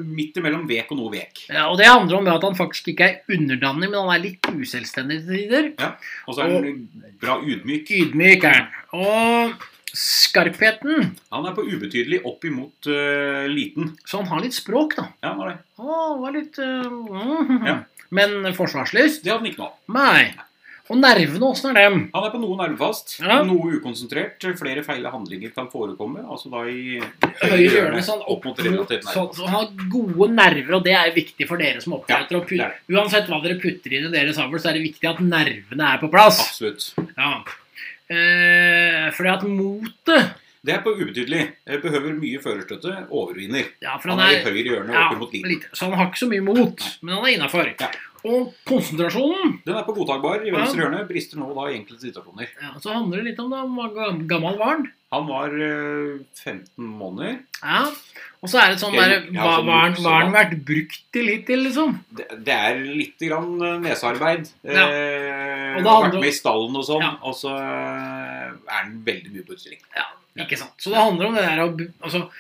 B: midt imellom vek og noe vek.
A: Ja, og det handler om at han faktisk ikke er underdanig, men han er litt uselvstendig til tider.
B: Og så er han bra ydmyk.
A: Ydmyk er han. Og skarpheten.
B: Han er på ubetydelig opp imot eh, liten.
A: Så han har litt språk, da.
B: Ja, han er det.
A: Å, han var litt eh, mhm.
B: Ja.
A: Men forsvarslyst?
B: Det hadde han ikke nå.
A: Nei. Og nervene, åssen er dem?
B: Han er på noe nervefast,
A: Ja.
B: noe ukonsentrert. Flere feile handlinger kan forekomme. Altså da i
A: Høyre hjørne, sånn
B: opp mot relativt
A: Så,
B: nærme.
A: så han har gode nerver, og det er viktig for dere som oppdretter. og
B: det er
A: put, uansett hva dere putter inn i deres avl, så er det viktig at nervene er på plass.
B: Absolutt.
A: Ja. Eh, fordi at motet
B: Det er på ubetydelig. Eh, Behøver mye førerstøtte. Overvinner.
A: ja, for
B: Han
A: han
B: er i
A: er,
B: høyre hjørne
A: ja,
B: opp mot liten.
A: lite. Så han har ikke så mye mot, men han er innafor.
B: Ja.
A: Og konsentrasjonen
B: Den er på godtakbar i
A: Ja.
B: venstre hjørne. Brister nå da i enkelte situasjoner.
A: ja, Så handler det litt om da, hvor gam- gammel var han.
B: Han var eh, 15 måneder.
A: Ja. Og så er det sånn
B: Ja,
A: der,
B: ja,
A: hva,
B: sånn
A: hva har han-
B: brukt,
A: hva har han
B: sånn.
A: vært brukt til litt til, liksom?
B: Det, det er lite grann eh, nesearbeid.
A: Ja.
B: Eh,
A: Og det handler
B: vært
A: om-
B: med i stallen og sånn.
A: Ja.
B: Og så eh, er han veldig mye på utstilling.
A: Ja, ikke sant. Så det handler om det der å bu- altså,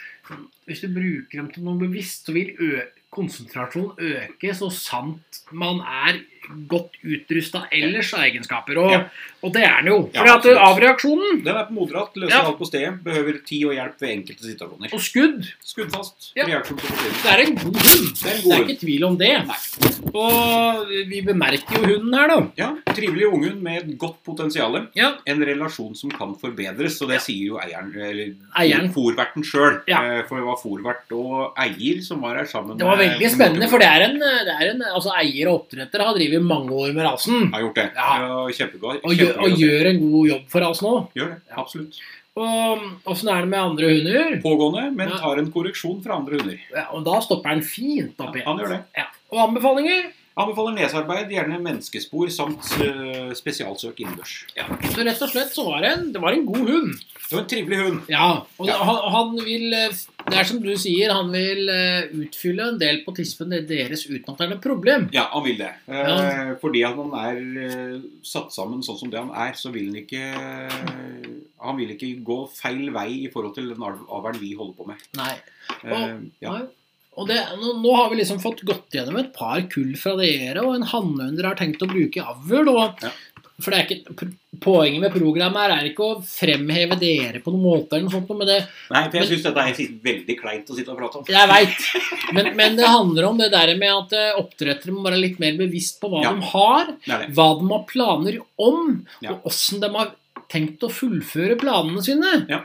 A: Hvis du bruker dem til noe bevisst, så vil ø konsentrasjonen øke så sant man er godt utrusta ellers av egenskaper. Og,
B: Ja.
A: og det er den jo.
B: Ja,
A: For at
B: absolutt.
A: av reaksjonen
B: Den er på moderat. Løser
A: Ja.
B: alt på stedet. Behøver tid og hjelp ved enkelte situasjoner.
A: og skudd
B: Skuddfast.
A: Ja.
B: Reaksjon på forsiden.
A: Det er en god hund.
B: Det er en
A: Det
B: god
A: er
B: hund.
A: ikke tvil om det. Og vi bemerker jo hunden her, da.
B: Ja, Trivelig unghund med et godt potensial.
A: Ja,
B: En relasjon som kan forbedres, og det sier jo eieren eller
A: Eieren.
B: fòrverten sjøl.
A: Ja.
B: For det var fòrvert og eier som var her sammen.
A: Det var
B: med-
A: veldig spennende, for det er en, det er en altså Eier og oppdretter har drevet mange år med rasen.
B: Har gjort det.
A: Ja.
B: Kjempegod.
A: Og gjør, og gjør en god jobb for rasen òg.
B: gjør det. Absolutt.
A: Og åssen er det med andre hunder?
B: Pågående, men
A: Ja.
B: tar en korreksjon fra andre hunder.
A: Ja, og da stopper han fint opp igjen.
B: Han gjør det.
A: Ja. Og anbefalinger?
B: Anbefaler nesarbeid, gjerne menneskespor samt eh, spesialsøk innendørs.
A: Så rett og slett så var det en, det var en god hund.
B: Det var en trivelig hund.
A: Ja, og
B: Ja.
A: Han, han vil eh, Det er som du sier, han vil eh, utfylle en del på tispen deres uten at det er noe problem.
B: Ja, han vil det. Eh,
A: Ja.
B: Fordi at han er eh, satt sammen sånn som det han er, så vil han ikke eh, Han vil ikke gå feil vei i forhold til den arv- avlen vi holder på med.
A: Nei.
B: Eh, ja.
A: Nei. Og det, nå, nå har vi liksom fått gått gjennom et par kull fra dere, og en hannhund dere har tenkt å bruke i avl. Og,
B: Ja.
A: For det er ikke, pr- poenget med programmet her er ikke å fremheve dere på noen måte, eller noe sånt, men det,
B: Nei, for jeg syns dette er veldig kleint å sitte og prate om.
A: Jeg veit. Men, men det handler om det der med at eh, oppdrettere må være litt mer bevisst på hva
B: Ja.
A: de har,
B: Det er det.
A: hva de har planer om,
B: Ja.
A: og åssen de har tenkt å fullføre planene sine.
B: Ja.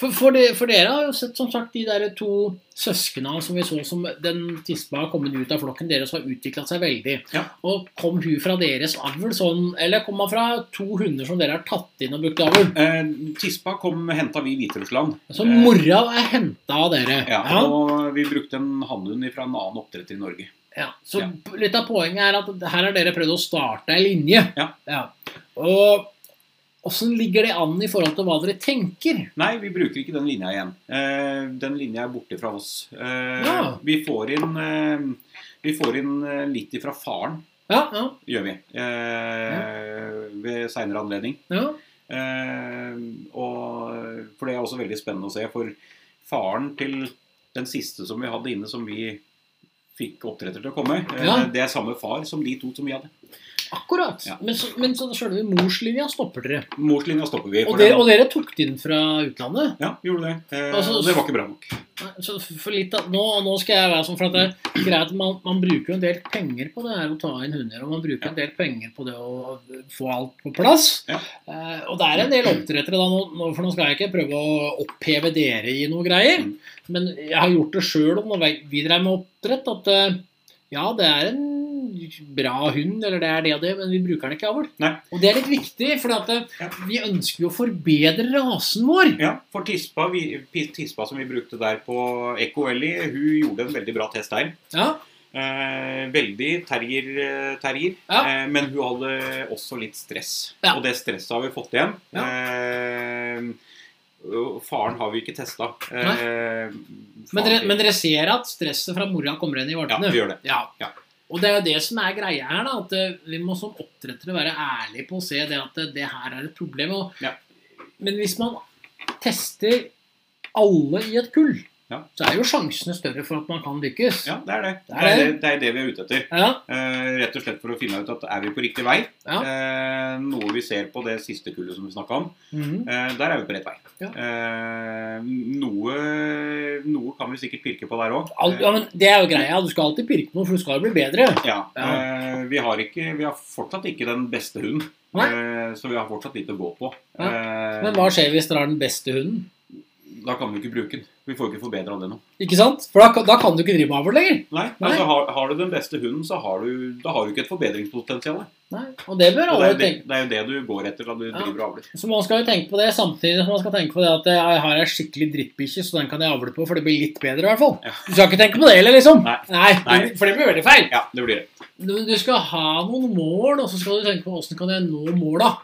A: For, for, de, for dere har jo sett som sagt de der to søsknene som vi så som den tispa har kommet ut av flokken deres har utvikla seg veldig.
B: Ja.
A: Og kom hun fra deres avl sånn, eller kom hun fra to hunder som dere har tatt inn og brukt i avl?
B: Eh, tispa kom henta vi i Hviterussland.
A: Så
B: Eh,
A: mora er henta av dere.
B: Ja, og vi brukte en hannhund fra en annen oppdretter i Norge.
A: Ja, så
B: Ja.
A: litt av poenget er at her har dere prøvd å starte ei linje.
B: Ja.
A: Og åssen ligger det an i forhold til hva dere tenker?
B: Nei, vi bruker ikke den linja igjen. Eh, den linja er borte fra oss. Eh,
A: Ja.
B: Vi får inn, eh, vi får inn eh, litt ifra faren,
A: Ja, ja,
B: gjør vi. Eh, Ved seinere anledning.
A: ja.
B: Eh, og, for det er også veldig spennende å se. For faren til den siste som vi hadde inne, som vi fikk oppdretter til å komme, eh,
A: Ja.
B: det er samme far som de to som vi hadde.
A: Akkurat.
B: Ja.
A: Men, så, men så sjølve morslinja stopper dere.
B: Morslinja stopper vi. for
A: Og, dere-
B: den-
A: og dere tok det inn fra utlandet?
B: Ja, gjorde det. Eh,
A: Altså,
B: og det var ikke bra nok.
A: Nei, Så for litt av, nå, nå skal jeg være sånn, for at det er greit, man, man bruker jo en del penger på det her å ta inn hunder, og man bruker en del penger på det å få alt på plass.
B: Ja.
A: Eh, og det er en del oppdrettere, da, nå, nå, for nå skal jeg ikke prøve å oppheve dere i noe greier,
B: Mm.
A: men jeg har gjort det sjøl når vi drev med oppdrett, at eh, ja, det er en bra hund, eller det er det og det, men vi bruker den ikke i avl.
B: Nei.
A: Og det er litt viktig, for at eh,
B: Ja.
A: vi ønsker jo å forbedre rasen vår.
B: Ja, for tispa, vi, tispa som vi brukte der på Echo Ellie, hun gjorde en veldig bra test der.
A: Ja,
B: Eh, veldig terrier, eh, terrier.
A: Ja.
B: Eh, men hun hadde også litt stress.
A: Ja.
B: Og det stresset har vi fått igjen.
A: Ja.
B: Eh, og faren har vi ikke testa. Eh,
A: men dere, men dere ser at stresset fra mora kommer igjen i
B: Ja,
A: valpene?
B: vi gjør det.
A: Ja.
B: Ja.
A: Og det er jo det som er greia her, da, at eh, vi må som oppdrettere være ærlige på å se det at eh, det her er et problem. Og,
B: Ja.
A: Men hvis man tester alle i et kull,
B: Ja.
A: så er jo sjansene større for at man kan lykkes.
B: Ja, det er det.
A: Det
B: Det
A: er
B: er det,
A: det.
B: det, er det vi er ute etter.
A: Ja,
B: Eh, rett og slett for å finne ut at er vi på riktig vei.
A: Ja.
B: Eh, noe vi ser på det siste kullet som vi snakka om.
A: Mhm.
B: Eh, Der er vi på rett vei.
A: Ja.
B: Eh, noe, noe kan vi sikkert pirke på der òg.
A: Alt, ja men Det er jo greia. Du skal alltid pirke noe, for du skal jo bli bedre.
B: Eh, Vi har, ikke, vi har fortsatt ikke den beste hunden.
A: Nei.
B: Eh, Så vi har fortsatt litt å gå på.
A: Ja.
B: Eh,
A: Men hva skjer hvis dere har den beste hunden?
B: Da kan vi ikke bruke den. Vi får ikke forbedra den nå.
A: Ikke sant? For da, kan- da kan du ikke drive med avl lenger.
B: Nei,
A: Nei.
B: Altså, har, har du den beste hunden, så har du, da har du ikke et forbedringspotensial.
A: Nei, og det bør
B: Og det,
A: alle
B: er det,
A: tenke
B: det er jo det du går etter da du driver og avler.
A: Så man skal jo tenke på det samtidig som man skal tenke på det at eh, jeg har ei skikkelig drittbikkje, så den kan jeg avle på, for det blir litt bedre i hvert fall.
B: Ja.
A: Du skal ikke tenke på det heller, liksom.
B: Nei. Nei.
A: For det blir veldig feil.
B: Ja, det blir det.
A: Du, du skal ha noen mål, og så skal du tenke på åssen kan jeg nå måla.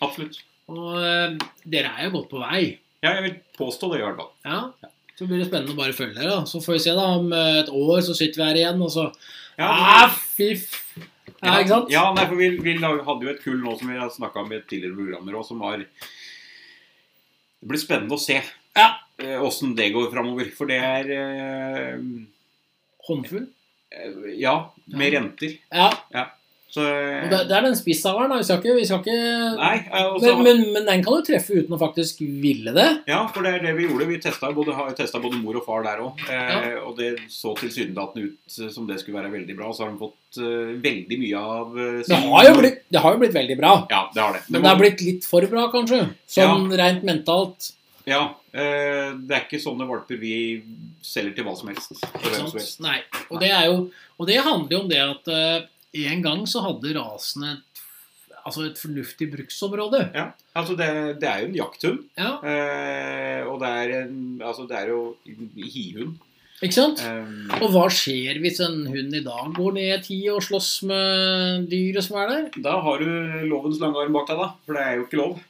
B: Absolutt.
A: Og eh, dere er jo godt på vei.
B: Ja, jeg vil påstå det i hvert fall.
A: Ja. Så blir det spennende å bare følge dere. da. Så får vi se da, om eh, et år så sitter vi her igjen, og så Ah, fiff! Ja, ikke sant?
B: Ja, nei, for vi, vi la- hadde jo et kull nå som vi har snakka om i et tidligere programmer òg, som var Det blir spennende å se
A: Ja.
B: åssen det går framover. For det er eh,
A: Håndfull.
B: Ja, med renter.
A: Ja.
B: Så eh,
A: Og det, det er den spissaveren, da. Vi skal ikke, vi skal ikke
B: Nei, eh, og så-
A: men, men, men den kan du treffe uten å faktisk ville det.
B: Ja, for det er det vi gjorde. Vi testa både, har testet både mor og far der òg. Eh, Og det så tilsynelatende ut eh, som det skulle være veldig bra. Så har de fått eh, veldig mye av eh,
A: Det
B: sin-
A: har jo blitt, det har jo blitt veldig bra.
B: Ja, det har det.
A: Men det er blitt litt for bra, kanskje. Sånn rent mentalt.
B: Ja, eh, Det er ikke sånne valper vi selger til hva som helst. For hvem som
A: Sånn.
B: helst.
A: Nei. Og det, er jo, og det handler jo om det at eh, en gang så hadde rasen et, altså et fornuftig bruksområde.
B: Ja, altså det, det er jo en jakthund.
A: Ja,
B: Eh, og det er, en, altså det er jo en hihund.
A: ikke sant?
B: Eh,
A: Og hva skjer hvis en hund i dag går ned i tid og slåss med dyret som er der?
B: da har du lovens lange arm bak deg, da. For det er jo ikke lov.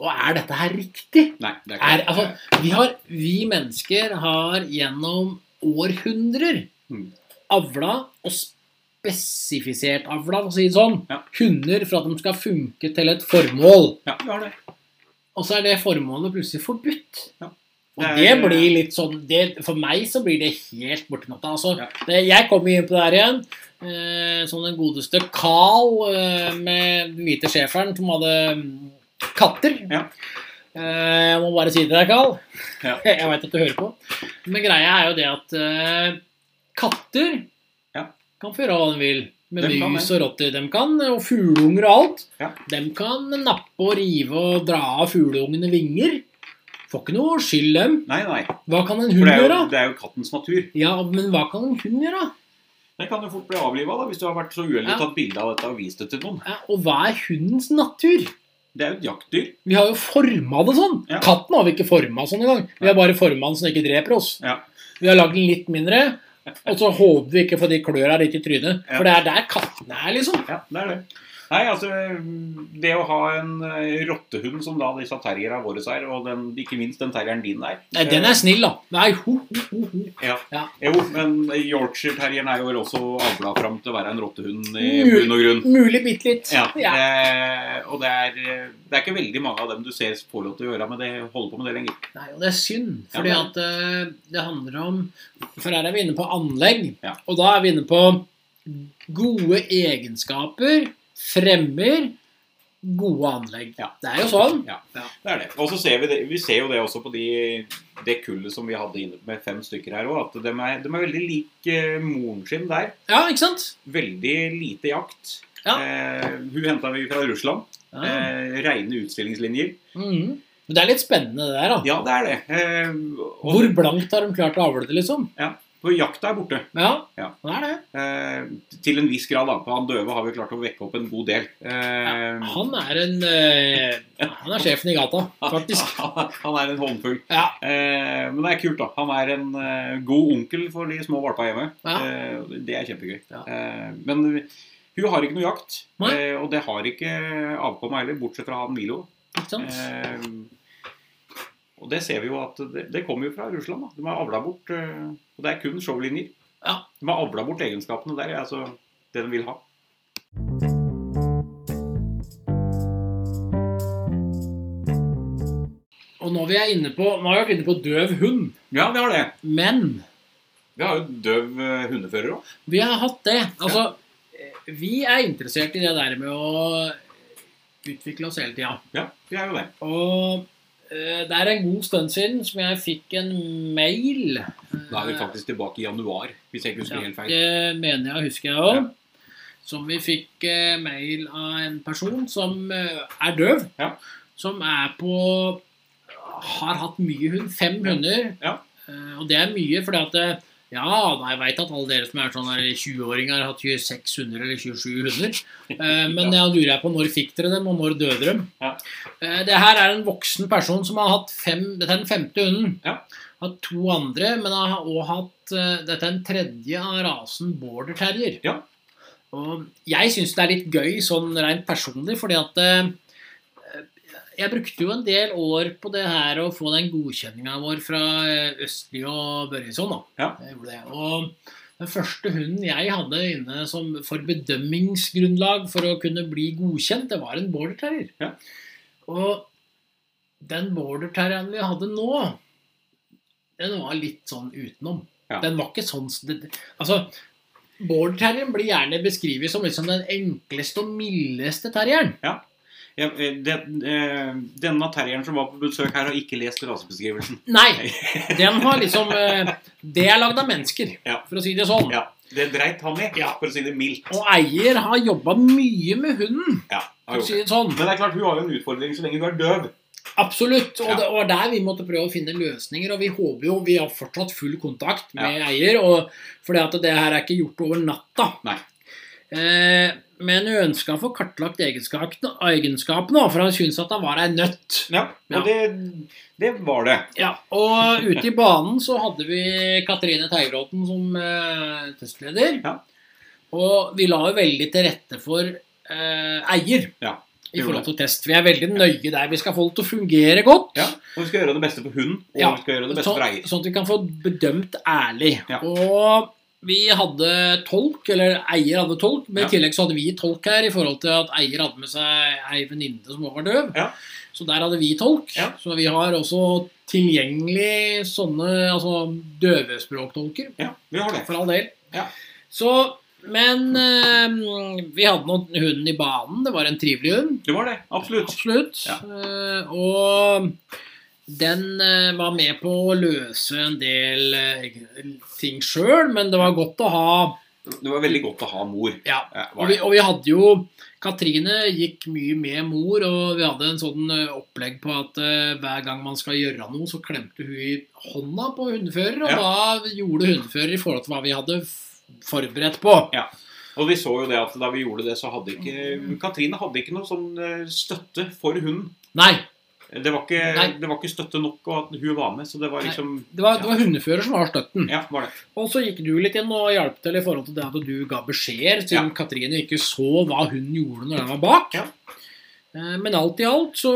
A: Og er dette her riktig?
B: Nei, det er ikke
A: Er, altså, vi, har, vi mennesker har gjennom århundrer
B: Mm.
A: avla og spesifisert avla, for å si det sånn,
B: Ja.
A: hunder for at de skal funke til et formål.
B: Ja, vi har det.
A: Og så er det formålet plutselig forbudt.
B: Ja.
A: Og
B: Det
A: det
B: er-
A: blir litt sånn det, For meg så blir det helt borti natta. Altså,
B: Ja.
A: det, jeg kommer inn på det her igjen. Eh, som den godeste Carl eh, med den hvite schæferen som hadde mm, katter.
B: Ja.
A: Eh, jeg må bare si det til deg, Carl.
B: Ja.
A: Jeg veit at du hører på. Men greia er jo det at eh, katter
B: Ja.
A: kan få gjøre hva de vil. Med
B: Dem kan
A: mus og rotter. De kan, eh, og fugleunger og alt.
B: Ja.
A: De kan nappe og rive og dra av fugleungene vinger. Får ikke noe skyld, dem.
B: Nei, nei.
A: Hva kan en
B: For
A: hund
B: det er,
A: gjøre?
B: jo, det er jo kattens natur.
A: Ja, men hva kan en hund gjøre?
B: Den kan jo fort bli avliva da, hvis du har vært så uheldig
A: Ja.
B: å tatt bilde av dette og vist det til noen.
A: Ja, Og hva er hundens natur?
B: Det er jo et jaktdyr.
A: Vi har jo forma det sånn.
B: Ja.
A: Katten har vi ikke forma sånn engang. Vi har bare forma den så den ikke dreper oss.
B: Ja.
A: Vi har lagd den litt mindre, og så håper vi ikke får de kløra litt i trynet.
B: Ja.
A: For det er der kattene er, liksom.
B: Ja, det er det. Nei, altså Det å ha en eh, rottehund som da disse terrierne våre er, og den, ikke minst den terrieren din er
A: Nei, den er snill, da. Nei, ho, ho, ho, ho.
B: ja.
A: Ja.
B: Jo, men Yorkshire-terrieren er jo vel også avla fram til å være en rottehund i
A: Mul-
B: bunn og grunn.
A: Mulig bitte litt.
B: Ja, Det, og det er, det er ikke veldig mange av dem du ser får lov til å gjøre med det, holde på med det lenger.
A: Nei, og det er synd,
B: Ja,
A: fordi
B: men-
A: at eh, det handler om For her er vi inne på anlegg,
B: Ja.
A: og da er vi inne på gode egenskaper fremmer gode anlegg.
B: Ja.
A: Det er jo sånn.
B: Ja, det er det. Og så ser vi det, vi ser jo det også på de, det kullet som vi hadde inne med fem stykker her òg, at de er, de er veldig lik eh, moren sin der.
A: Ja, ikke sant?
B: Veldig lite jakt.
A: Ja. Ah.
B: Eh, hun henta vi fra Russland.
A: Ja.
B: Eh, Reine utstillingslinjer.
A: Mhm. Men det er litt spennende, det der. da.
B: Ja, det er det. Eh, og
A: Hvor blankt har de klart å avle det, liksom?
B: for jakta er borte.
A: Ja,
B: Ja.
A: det er det.
B: Eh, til en viss grad, da. På han døve har vi klart å vekke opp en god del. Eh,
A: Han er en eh, Han er sjefen i gata, faktisk.
B: han er en håndfull.
A: Ja.
B: Eh, men det er kult, da. Han er en eh, god onkel for de små valpa hjemme.
A: Ja.
B: Eh, det er kjempegøy.
A: Ja.
B: Eh, men hun har ikke noe jakt,
A: Nei.
B: eh, og det har ikke avkommet heller, bortsett fra han Milo.
A: Ikke sant?
B: Eh, og det ser vi jo at det, det kommer jo fra Russland. da. De har avla bort eh, Og det er kun showlinjer.
A: Ja.
B: De har avla bort egenskapene der, altså det de vil ha.
A: Og når vi er inne på Nå har vi vært inne på døv hund,
B: Ja, vi har det.
A: men
B: Vi har jo døv eh, hundefører òg.
A: Vi har hatt det. Altså, eh, vi er interessert i det der med å utvikle oss hele tida.
B: Ja, vi er jo det.
A: Og eh, det er en god stund siden som jeg fikk en mail.
B: Da er vi faktisk tilbake i januar, hvis jeg ikke husker
A: Ja,
B: helt feil.
A: det mener jeg, husker jeg òg. som vi fikk eh, mail av en person som eh, er døv.
B: Ja.
A: Som er på Har hatt mye hund. Fem hunder.
B: Ja.
A: Eh, og det er mye, fordi at eh, Ja, da, jeg veit at alle dere som er sånn her 20-åringer, har hatt 26 hunder eller 27 hunder. Eh, men jeg lurer jeg på når fikk dere dem, og når døde dem?
B: Ja.
A: Eh, det her er en voksen person som har hatt fem Dette er den femte hunden.
B: Ja.
A: Hatt to andre, men har også hatt eh, Dette er den tredje av rasen border terrier.
B: Ja.
A: Og jeg syns det er litt gøy sånn rent personlig, fordi at eh, jeg brukte jo en del år på det her å få den godkjenninga vår fra eh, Østli og Børjesson. da.
B: Ja.
A: Jeg gjorde det. Og den første hunden jeg hadde inne som for bedømmingsgrunnlag for å kunne bli godkjent, det var en border terrier.
B: Ja.
A: Og den border terrieren vi hadde nå, den var litt sånn utenom.
B: Ja.
A: Den var ikke sånn det, Altså, border terrieren blir gjerne beskrevet som liksom den enkleste og mildeste terrieren.
B: Ja, eh, den, eh, denne terrieren som var på besøk her, har ikke lest rasebeskrivelsen.
A: Nei, den har liksom eh, Det er lagd av mennesker,
B: Ja.
A: for å si det sånn.
B: Ja, Det dreit han i,
A: Ja.
B: for å si det mildt.
A: Og eier har jobba mye med hunden,
B: Ja,
A: for å
B: har gjort det.
A: si det sånn.
B: Men det er klart, hun har jo en utfordring så lenge du er døv.
A: Absolutt. Og
B: Ja.
A: det var der vi måtte prøve å finne løsninger. Og vi håper jo Vi har fortsatt full kontakt med
B: Ja.
A: eier, og, fordi at det her er ikke gjort over natta.
B: Nei.
A: Eh, men hun ønska å få kartlagt egenskapene, egenskapene, for han syntes at han var ei nøtt.
B: Ja,
A: Ja.
B: Og det, det var det.
A: Ja, og ute i banen så hadde vi Katrine Teigråten som eh, testleder.
B: Ja.
A: Og vi la jo veldig til rette for eh, eier
B: Ja,
A: i
B: gjorde
A: forhold til test. Vi er veldig nøye der. Vi skal få det til å fungere godt.
B: Ja, Og vi skal gjøre det beste for hunden, og
A: Ja,
B: vi skal gjøre det beste
A: Sånn,
B: for eier.
A: sånn at vi kan få bedømt ærlig.
B: Ja.
A: Og vi hadde tolk, eller eier hadde tolk, men
B: Ja.
A: i tillegg så hadde vi tolk her i forhold til at eier hadde med seg ei venninne som også var døv.
B: Ja.
A: Så der hadde vi tolk.
B: Ja.
A: Så vi har også tilgjengelig sånne altså døvespråktolker,
B: Ja, vi har det.
A: for all del.
B: Ja.
A: Så, men eh, vi hadde nå hunden i banen. Det var en trivelig hund.
B: Det var det. Absolutt.
A: Absolutt.
B: Ja.
A: Eh, og den eh, var med på å løse en del eh, ting sjøl, men det var godt å ha
B: Det var veldig godt å ha mor.
A: ja.
B: Ja,
A: og,
B: var
A: vi,
B: det.
A: og vi hadde jo Katrine gikk mye med mor, og vi hadde en sånn eh, opplegg på at eh, hver gang man skal gjøre noe, så klemte hun i hånda på hundefører, og da gjorde hundefører i forhold til hva vi hadde f- forberedt på.
B: Og vi så jo det at da vi gjorde det, så hadde ikke Katrine hadde ikke noe sånn eh, støtte for hunden.
A: Nei,
B: Det var ikke,
A: Nei.
B: det var ikke støtte nok, og at hun var med, så det var
A: Nei.
B: liksom
A: det var, det var hundefører som var støtten.
B: Ja, var det.
A: Og så gikk du litt inn og hjalp til i forhold til det at du ga beskjeder, siden Katrine ikke så hva hun gjorde når hun var bak.
B: Ja.
A: Eh, Men alt i alt så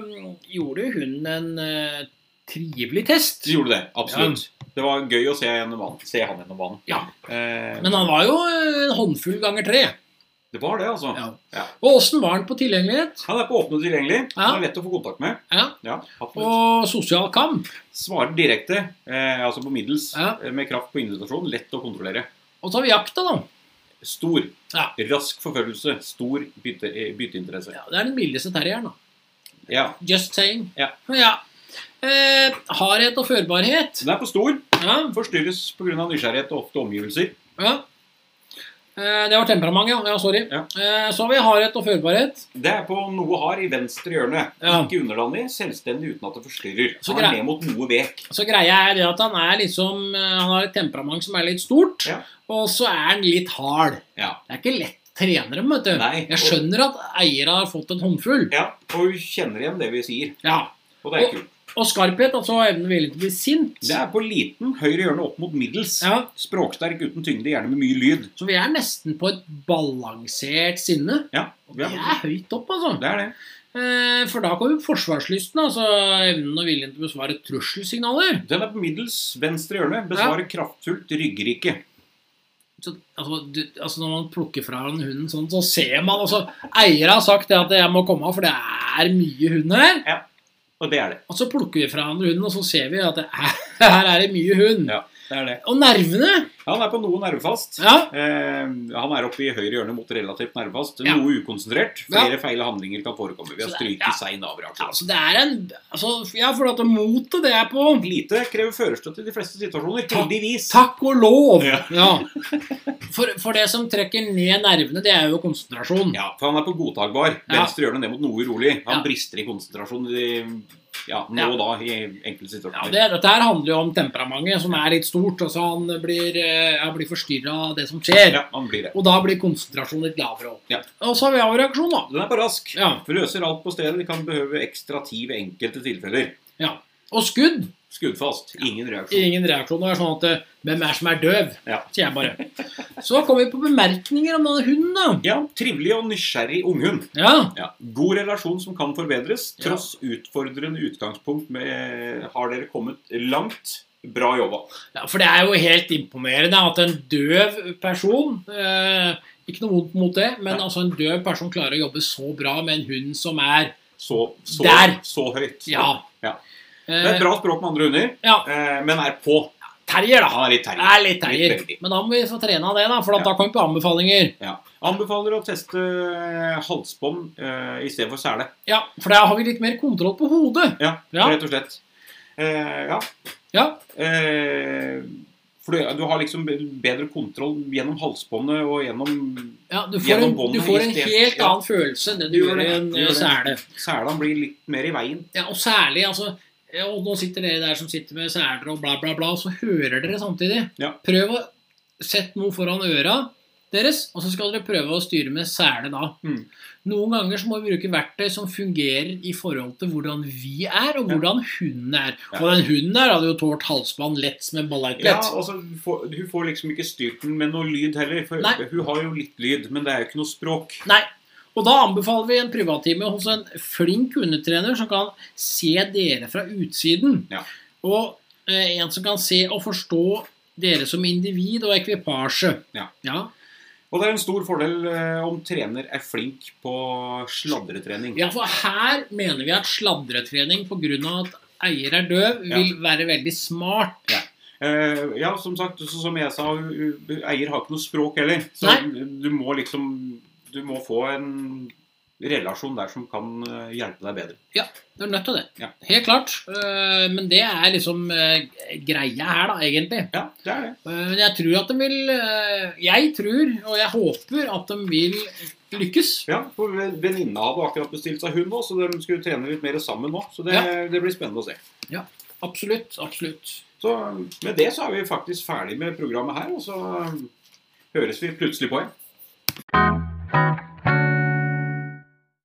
A: mm, gjorde hun en eh, trivelig test.
B: Så gjorde det. Absolutt. Det var gøy å se, gjennom banen, se han gjennom banen.
A: Ja.
B: Eh,
A: Men han var jo eh, en håndfull ganger tre.
B: det var det, altså.
A: Ja.
B: Ja.
A: Og åssen var han på tilgjengelighet?
B: Han er på åpne og tilgjengelig.
A: Ja.
B: Han er lett å få kontakt med.
A: Ja.
B: Ja, absolutt.
A: Og sosial kamp?
B: Svarer direkte, eh, altså på middels,
A: Ja.
B: eh, med kraft på invitasjon. Lett å kontrollere.
A: Og så har vi jakta, da.
B: Stor.
A: Ja.
B: Rask forfølgelse. Stor bytte, eh, bytteinteresse.
A: Ja, det er den mildeste terrieren, da.
B: Ja.
A: Just saying.
B: Ja.
A: Eh, hardhet og førbarhet.
B: Den er på stor.
A: Ja.
B: Forstyrres pga. nysgjerrighet og ofte omgivelser.
A: Ja. Eh, Det var temperament, ja. ja sorry.
B: Ja.
A: Eh, Så har vi hardhet og førbarhet.
B: Det er på noe hard i venstre hjørne.
A: Ja.
B: Ikke underlandig, selvstendig uten at det forstyrrer.
A: Så
B: han
A: grei-
B: er med mot noe vek.
A: Så greia er det at han er liksom eh, Han har et temperament som er litt stort,
B: Ja.
A: og så er han litt hard.
B: Ja.
A: Det er ikke lett å trene dem, vet du.
B: Nei,
A: Jeg skjønner at eiere har fått en håndfull.
B: Ja, og hun kjenner igjen det vi sier.
A: Ja.
B: Og det er
A: Og-
B: kult.
A: Og skarphet, altså evnen og viljen til å bli sint.
B: Det er på liten, høyre hjørne opp mot middels.
A: Ja.
B: Språksterk uten tyngde, gjerne med mye lyd.
A: Så vi er nesten på et balansert sinne.
B: Ja, vi
A: Det
B: er-
A: er høyt opp, altså.
B: det er det.
A: Eh, For da kommer forsvarslysten, altså evnen og viljen til å besvare trusselsignaler.
B: Den er på middels venstre hjørne. Besvarer kraftfullt ryggrike.
A: så, altså, du, altså Når man plukker fra den hunden sånn, så ser man altså, Eier har sagt det at 'jeg må komme av, for det er mye hund her'.
B: Og det er det.
A: Og så plukker vi fra andre hunden, og så ser vi at det er, her er det mye hund.
B: Ja. Det er det.
A: Og nervene!
B: Han er på noe nervefast.
A: Ja.
B: Eh, han er oppe i høyre hjørne mot relativt nervefast.
A: Ja.
B: Noe ukonsentrert. Flere feil handlinger kan forekomme. Vi har
A: Så det-
B: stryket
A: ja.
B: sein avreaksjon.
A: Altså, det er en altså, Ja, for at motet det er på
B: Lite krever førerstøtte i de fleste situasjoner.
A: Takk.
B: Heldigvis.
A: Takk og lov!
B: Ja.
A: For, for det som trekker ned nervene, det er jo konsentrasjon.
B: Ja, for han er på godtakbar.
A: Ja.
B: Venstre gjør noe ned mot noe urolig. Han
A: Ja.
B: brister i konsentrasjon i, ja, nå
A: Ja.
B: og da i enkelte
A: Ja,
B: situasjoner.
A: det, dette her handler jo om temperamentet, som er litt stort. Altså Han blir, eh, ja, blir forstyrra av det som skjer.
B: Ja, han blir det.
A: Og da blir konsentrasjonen litt lavere opp.
B: Ja.
A: Og så har vi avreaksjon, da.
B: Den er på rask.
A: Ja.
B: Løser alt på stedet. Kan behøve ekstra tid ved enkelte tilfeller.
A: ja. Og skudd.
B: Skuddfast. Ingen reaksjon.
A: Ingen reaksjon. Det er sånn at eh, Hvem er som er døv?
B: Ja.
A: sier jeg bare. Så kommer vi på bemerkninger om denne hunden, da.
B: Ja, Trivelig og nysgjerrig unghund.
A: Ja.
B: Ja. God relasjon som kan forbedres.
A: Ja.
B: Tross utfordrende utgangspunkt med, har dere kommet langt. Bra jobba.
A: Ja, for det er jo helt imponerende at en døv person eh, Ikke noe vondt mot det, men
B: Nei.
A: altså en døv person klarer å jobbe så bra med en hund som er
B: Så, så,
A: Der.
B: så høyt.
A: Ja.
B: Ja. Det er
A: Eh,
B: et bra språk med andre hunder,
A: ja
B: eh, men er på.
A: terrier, da.
B: Han er litt terje.
A: Det er litt
B: Litt
A: terrier.
B: veldig.
A: Men da må vi få trene av det, da, for at
B: Ja.
A: da kommer vi på anbefalinger.
B: Ja. Anbefaler å teste eh, halsbånd eh, i stedet for sele.
A: Ja, For da har vi litt mer kontroll på hodet.
B: Ja,
A: Ja.
B: rett og slett. Eh, ja.
A: Ja,
B: Eh, for du, du har liksom bedre kontroll gjennom halsbåndet og gjennom
A: ja Du får
B: Gjennom
A: en, du
B: båndet
A: får
B: i
A: en
B: stedet.
A: helt
B: Ja.
A: annen følelse enn det du
B: Du gjør
A: gjør i
B: det.
A: en
B: Du gjør
A: eh,
B: det.
A: sele.
B: Sela blir litt mer i veien.
A: Ja, og særlig, altså ja, Og nå sitter dere der som sitter med seler og bla, bla, bla, og så hører dere samtidig.
B: Ja.
A: Prøv å sette noe foran øra deres, og så skal dere prøve å styre med sele da.
B: Mm.
A: Noen ganger så må vi bruke verktøy som fungerer i forhold til hvordan vi er, og
B: Ja.
A: hvordan hunden er.
B: Ja.
A: Og den hunden der hadde jo tålt halsbånd lett som en
B: Ja,
A: ballerplett.
B: og så får, Hun får liksom ikke styrt den med noe lyd heller. For
A: Nei.
B: Hun har jo litt lyd, men det er jo ikke noe språk.
A: Nei. Og da anbefaler vi en privattime hos en flink hundetrener som kan se dere fra utsiden.
B: Ja.
A: Og eh, en som kan se og forstå dere som individ og ekvipasje.
B: Ja.
A: Ja.
B: Og det er en stor fordel eh, om trener er flink på sladretrening.
A: Ja, for her mener vi at sladretrening pga. at eier er døv,
B: Ja.
A: vil være veldig smart.
B: Ja. Eh, ja, som sagt, så, som jeg sa, hun- hun- eier har ikke noe språk heller. Så du må liksom Du må få en relasjon der som kan eh, hjelpe deg bedre.
A: Du er nødt til det.
B: Ja.
A: Helt klart. Eh, Men det er liksom eh, greia her, da, egentlig.
B: Ja, det er det.
A: Eh, Men jeg tror at de vil eh, Jeg tror, og jeg håper, at de vil lykkes.
B: Ja, for Venninna hadde akkurat bestilt seg hund nå, så de skulle trene litt mer sammen nå. Så det, det blir spennende å se.
A: Absolutt. Absolutt.
B: Så med det så er vi faktisk ferdig med programmet her, og så um, høres vi plutselig på igjen.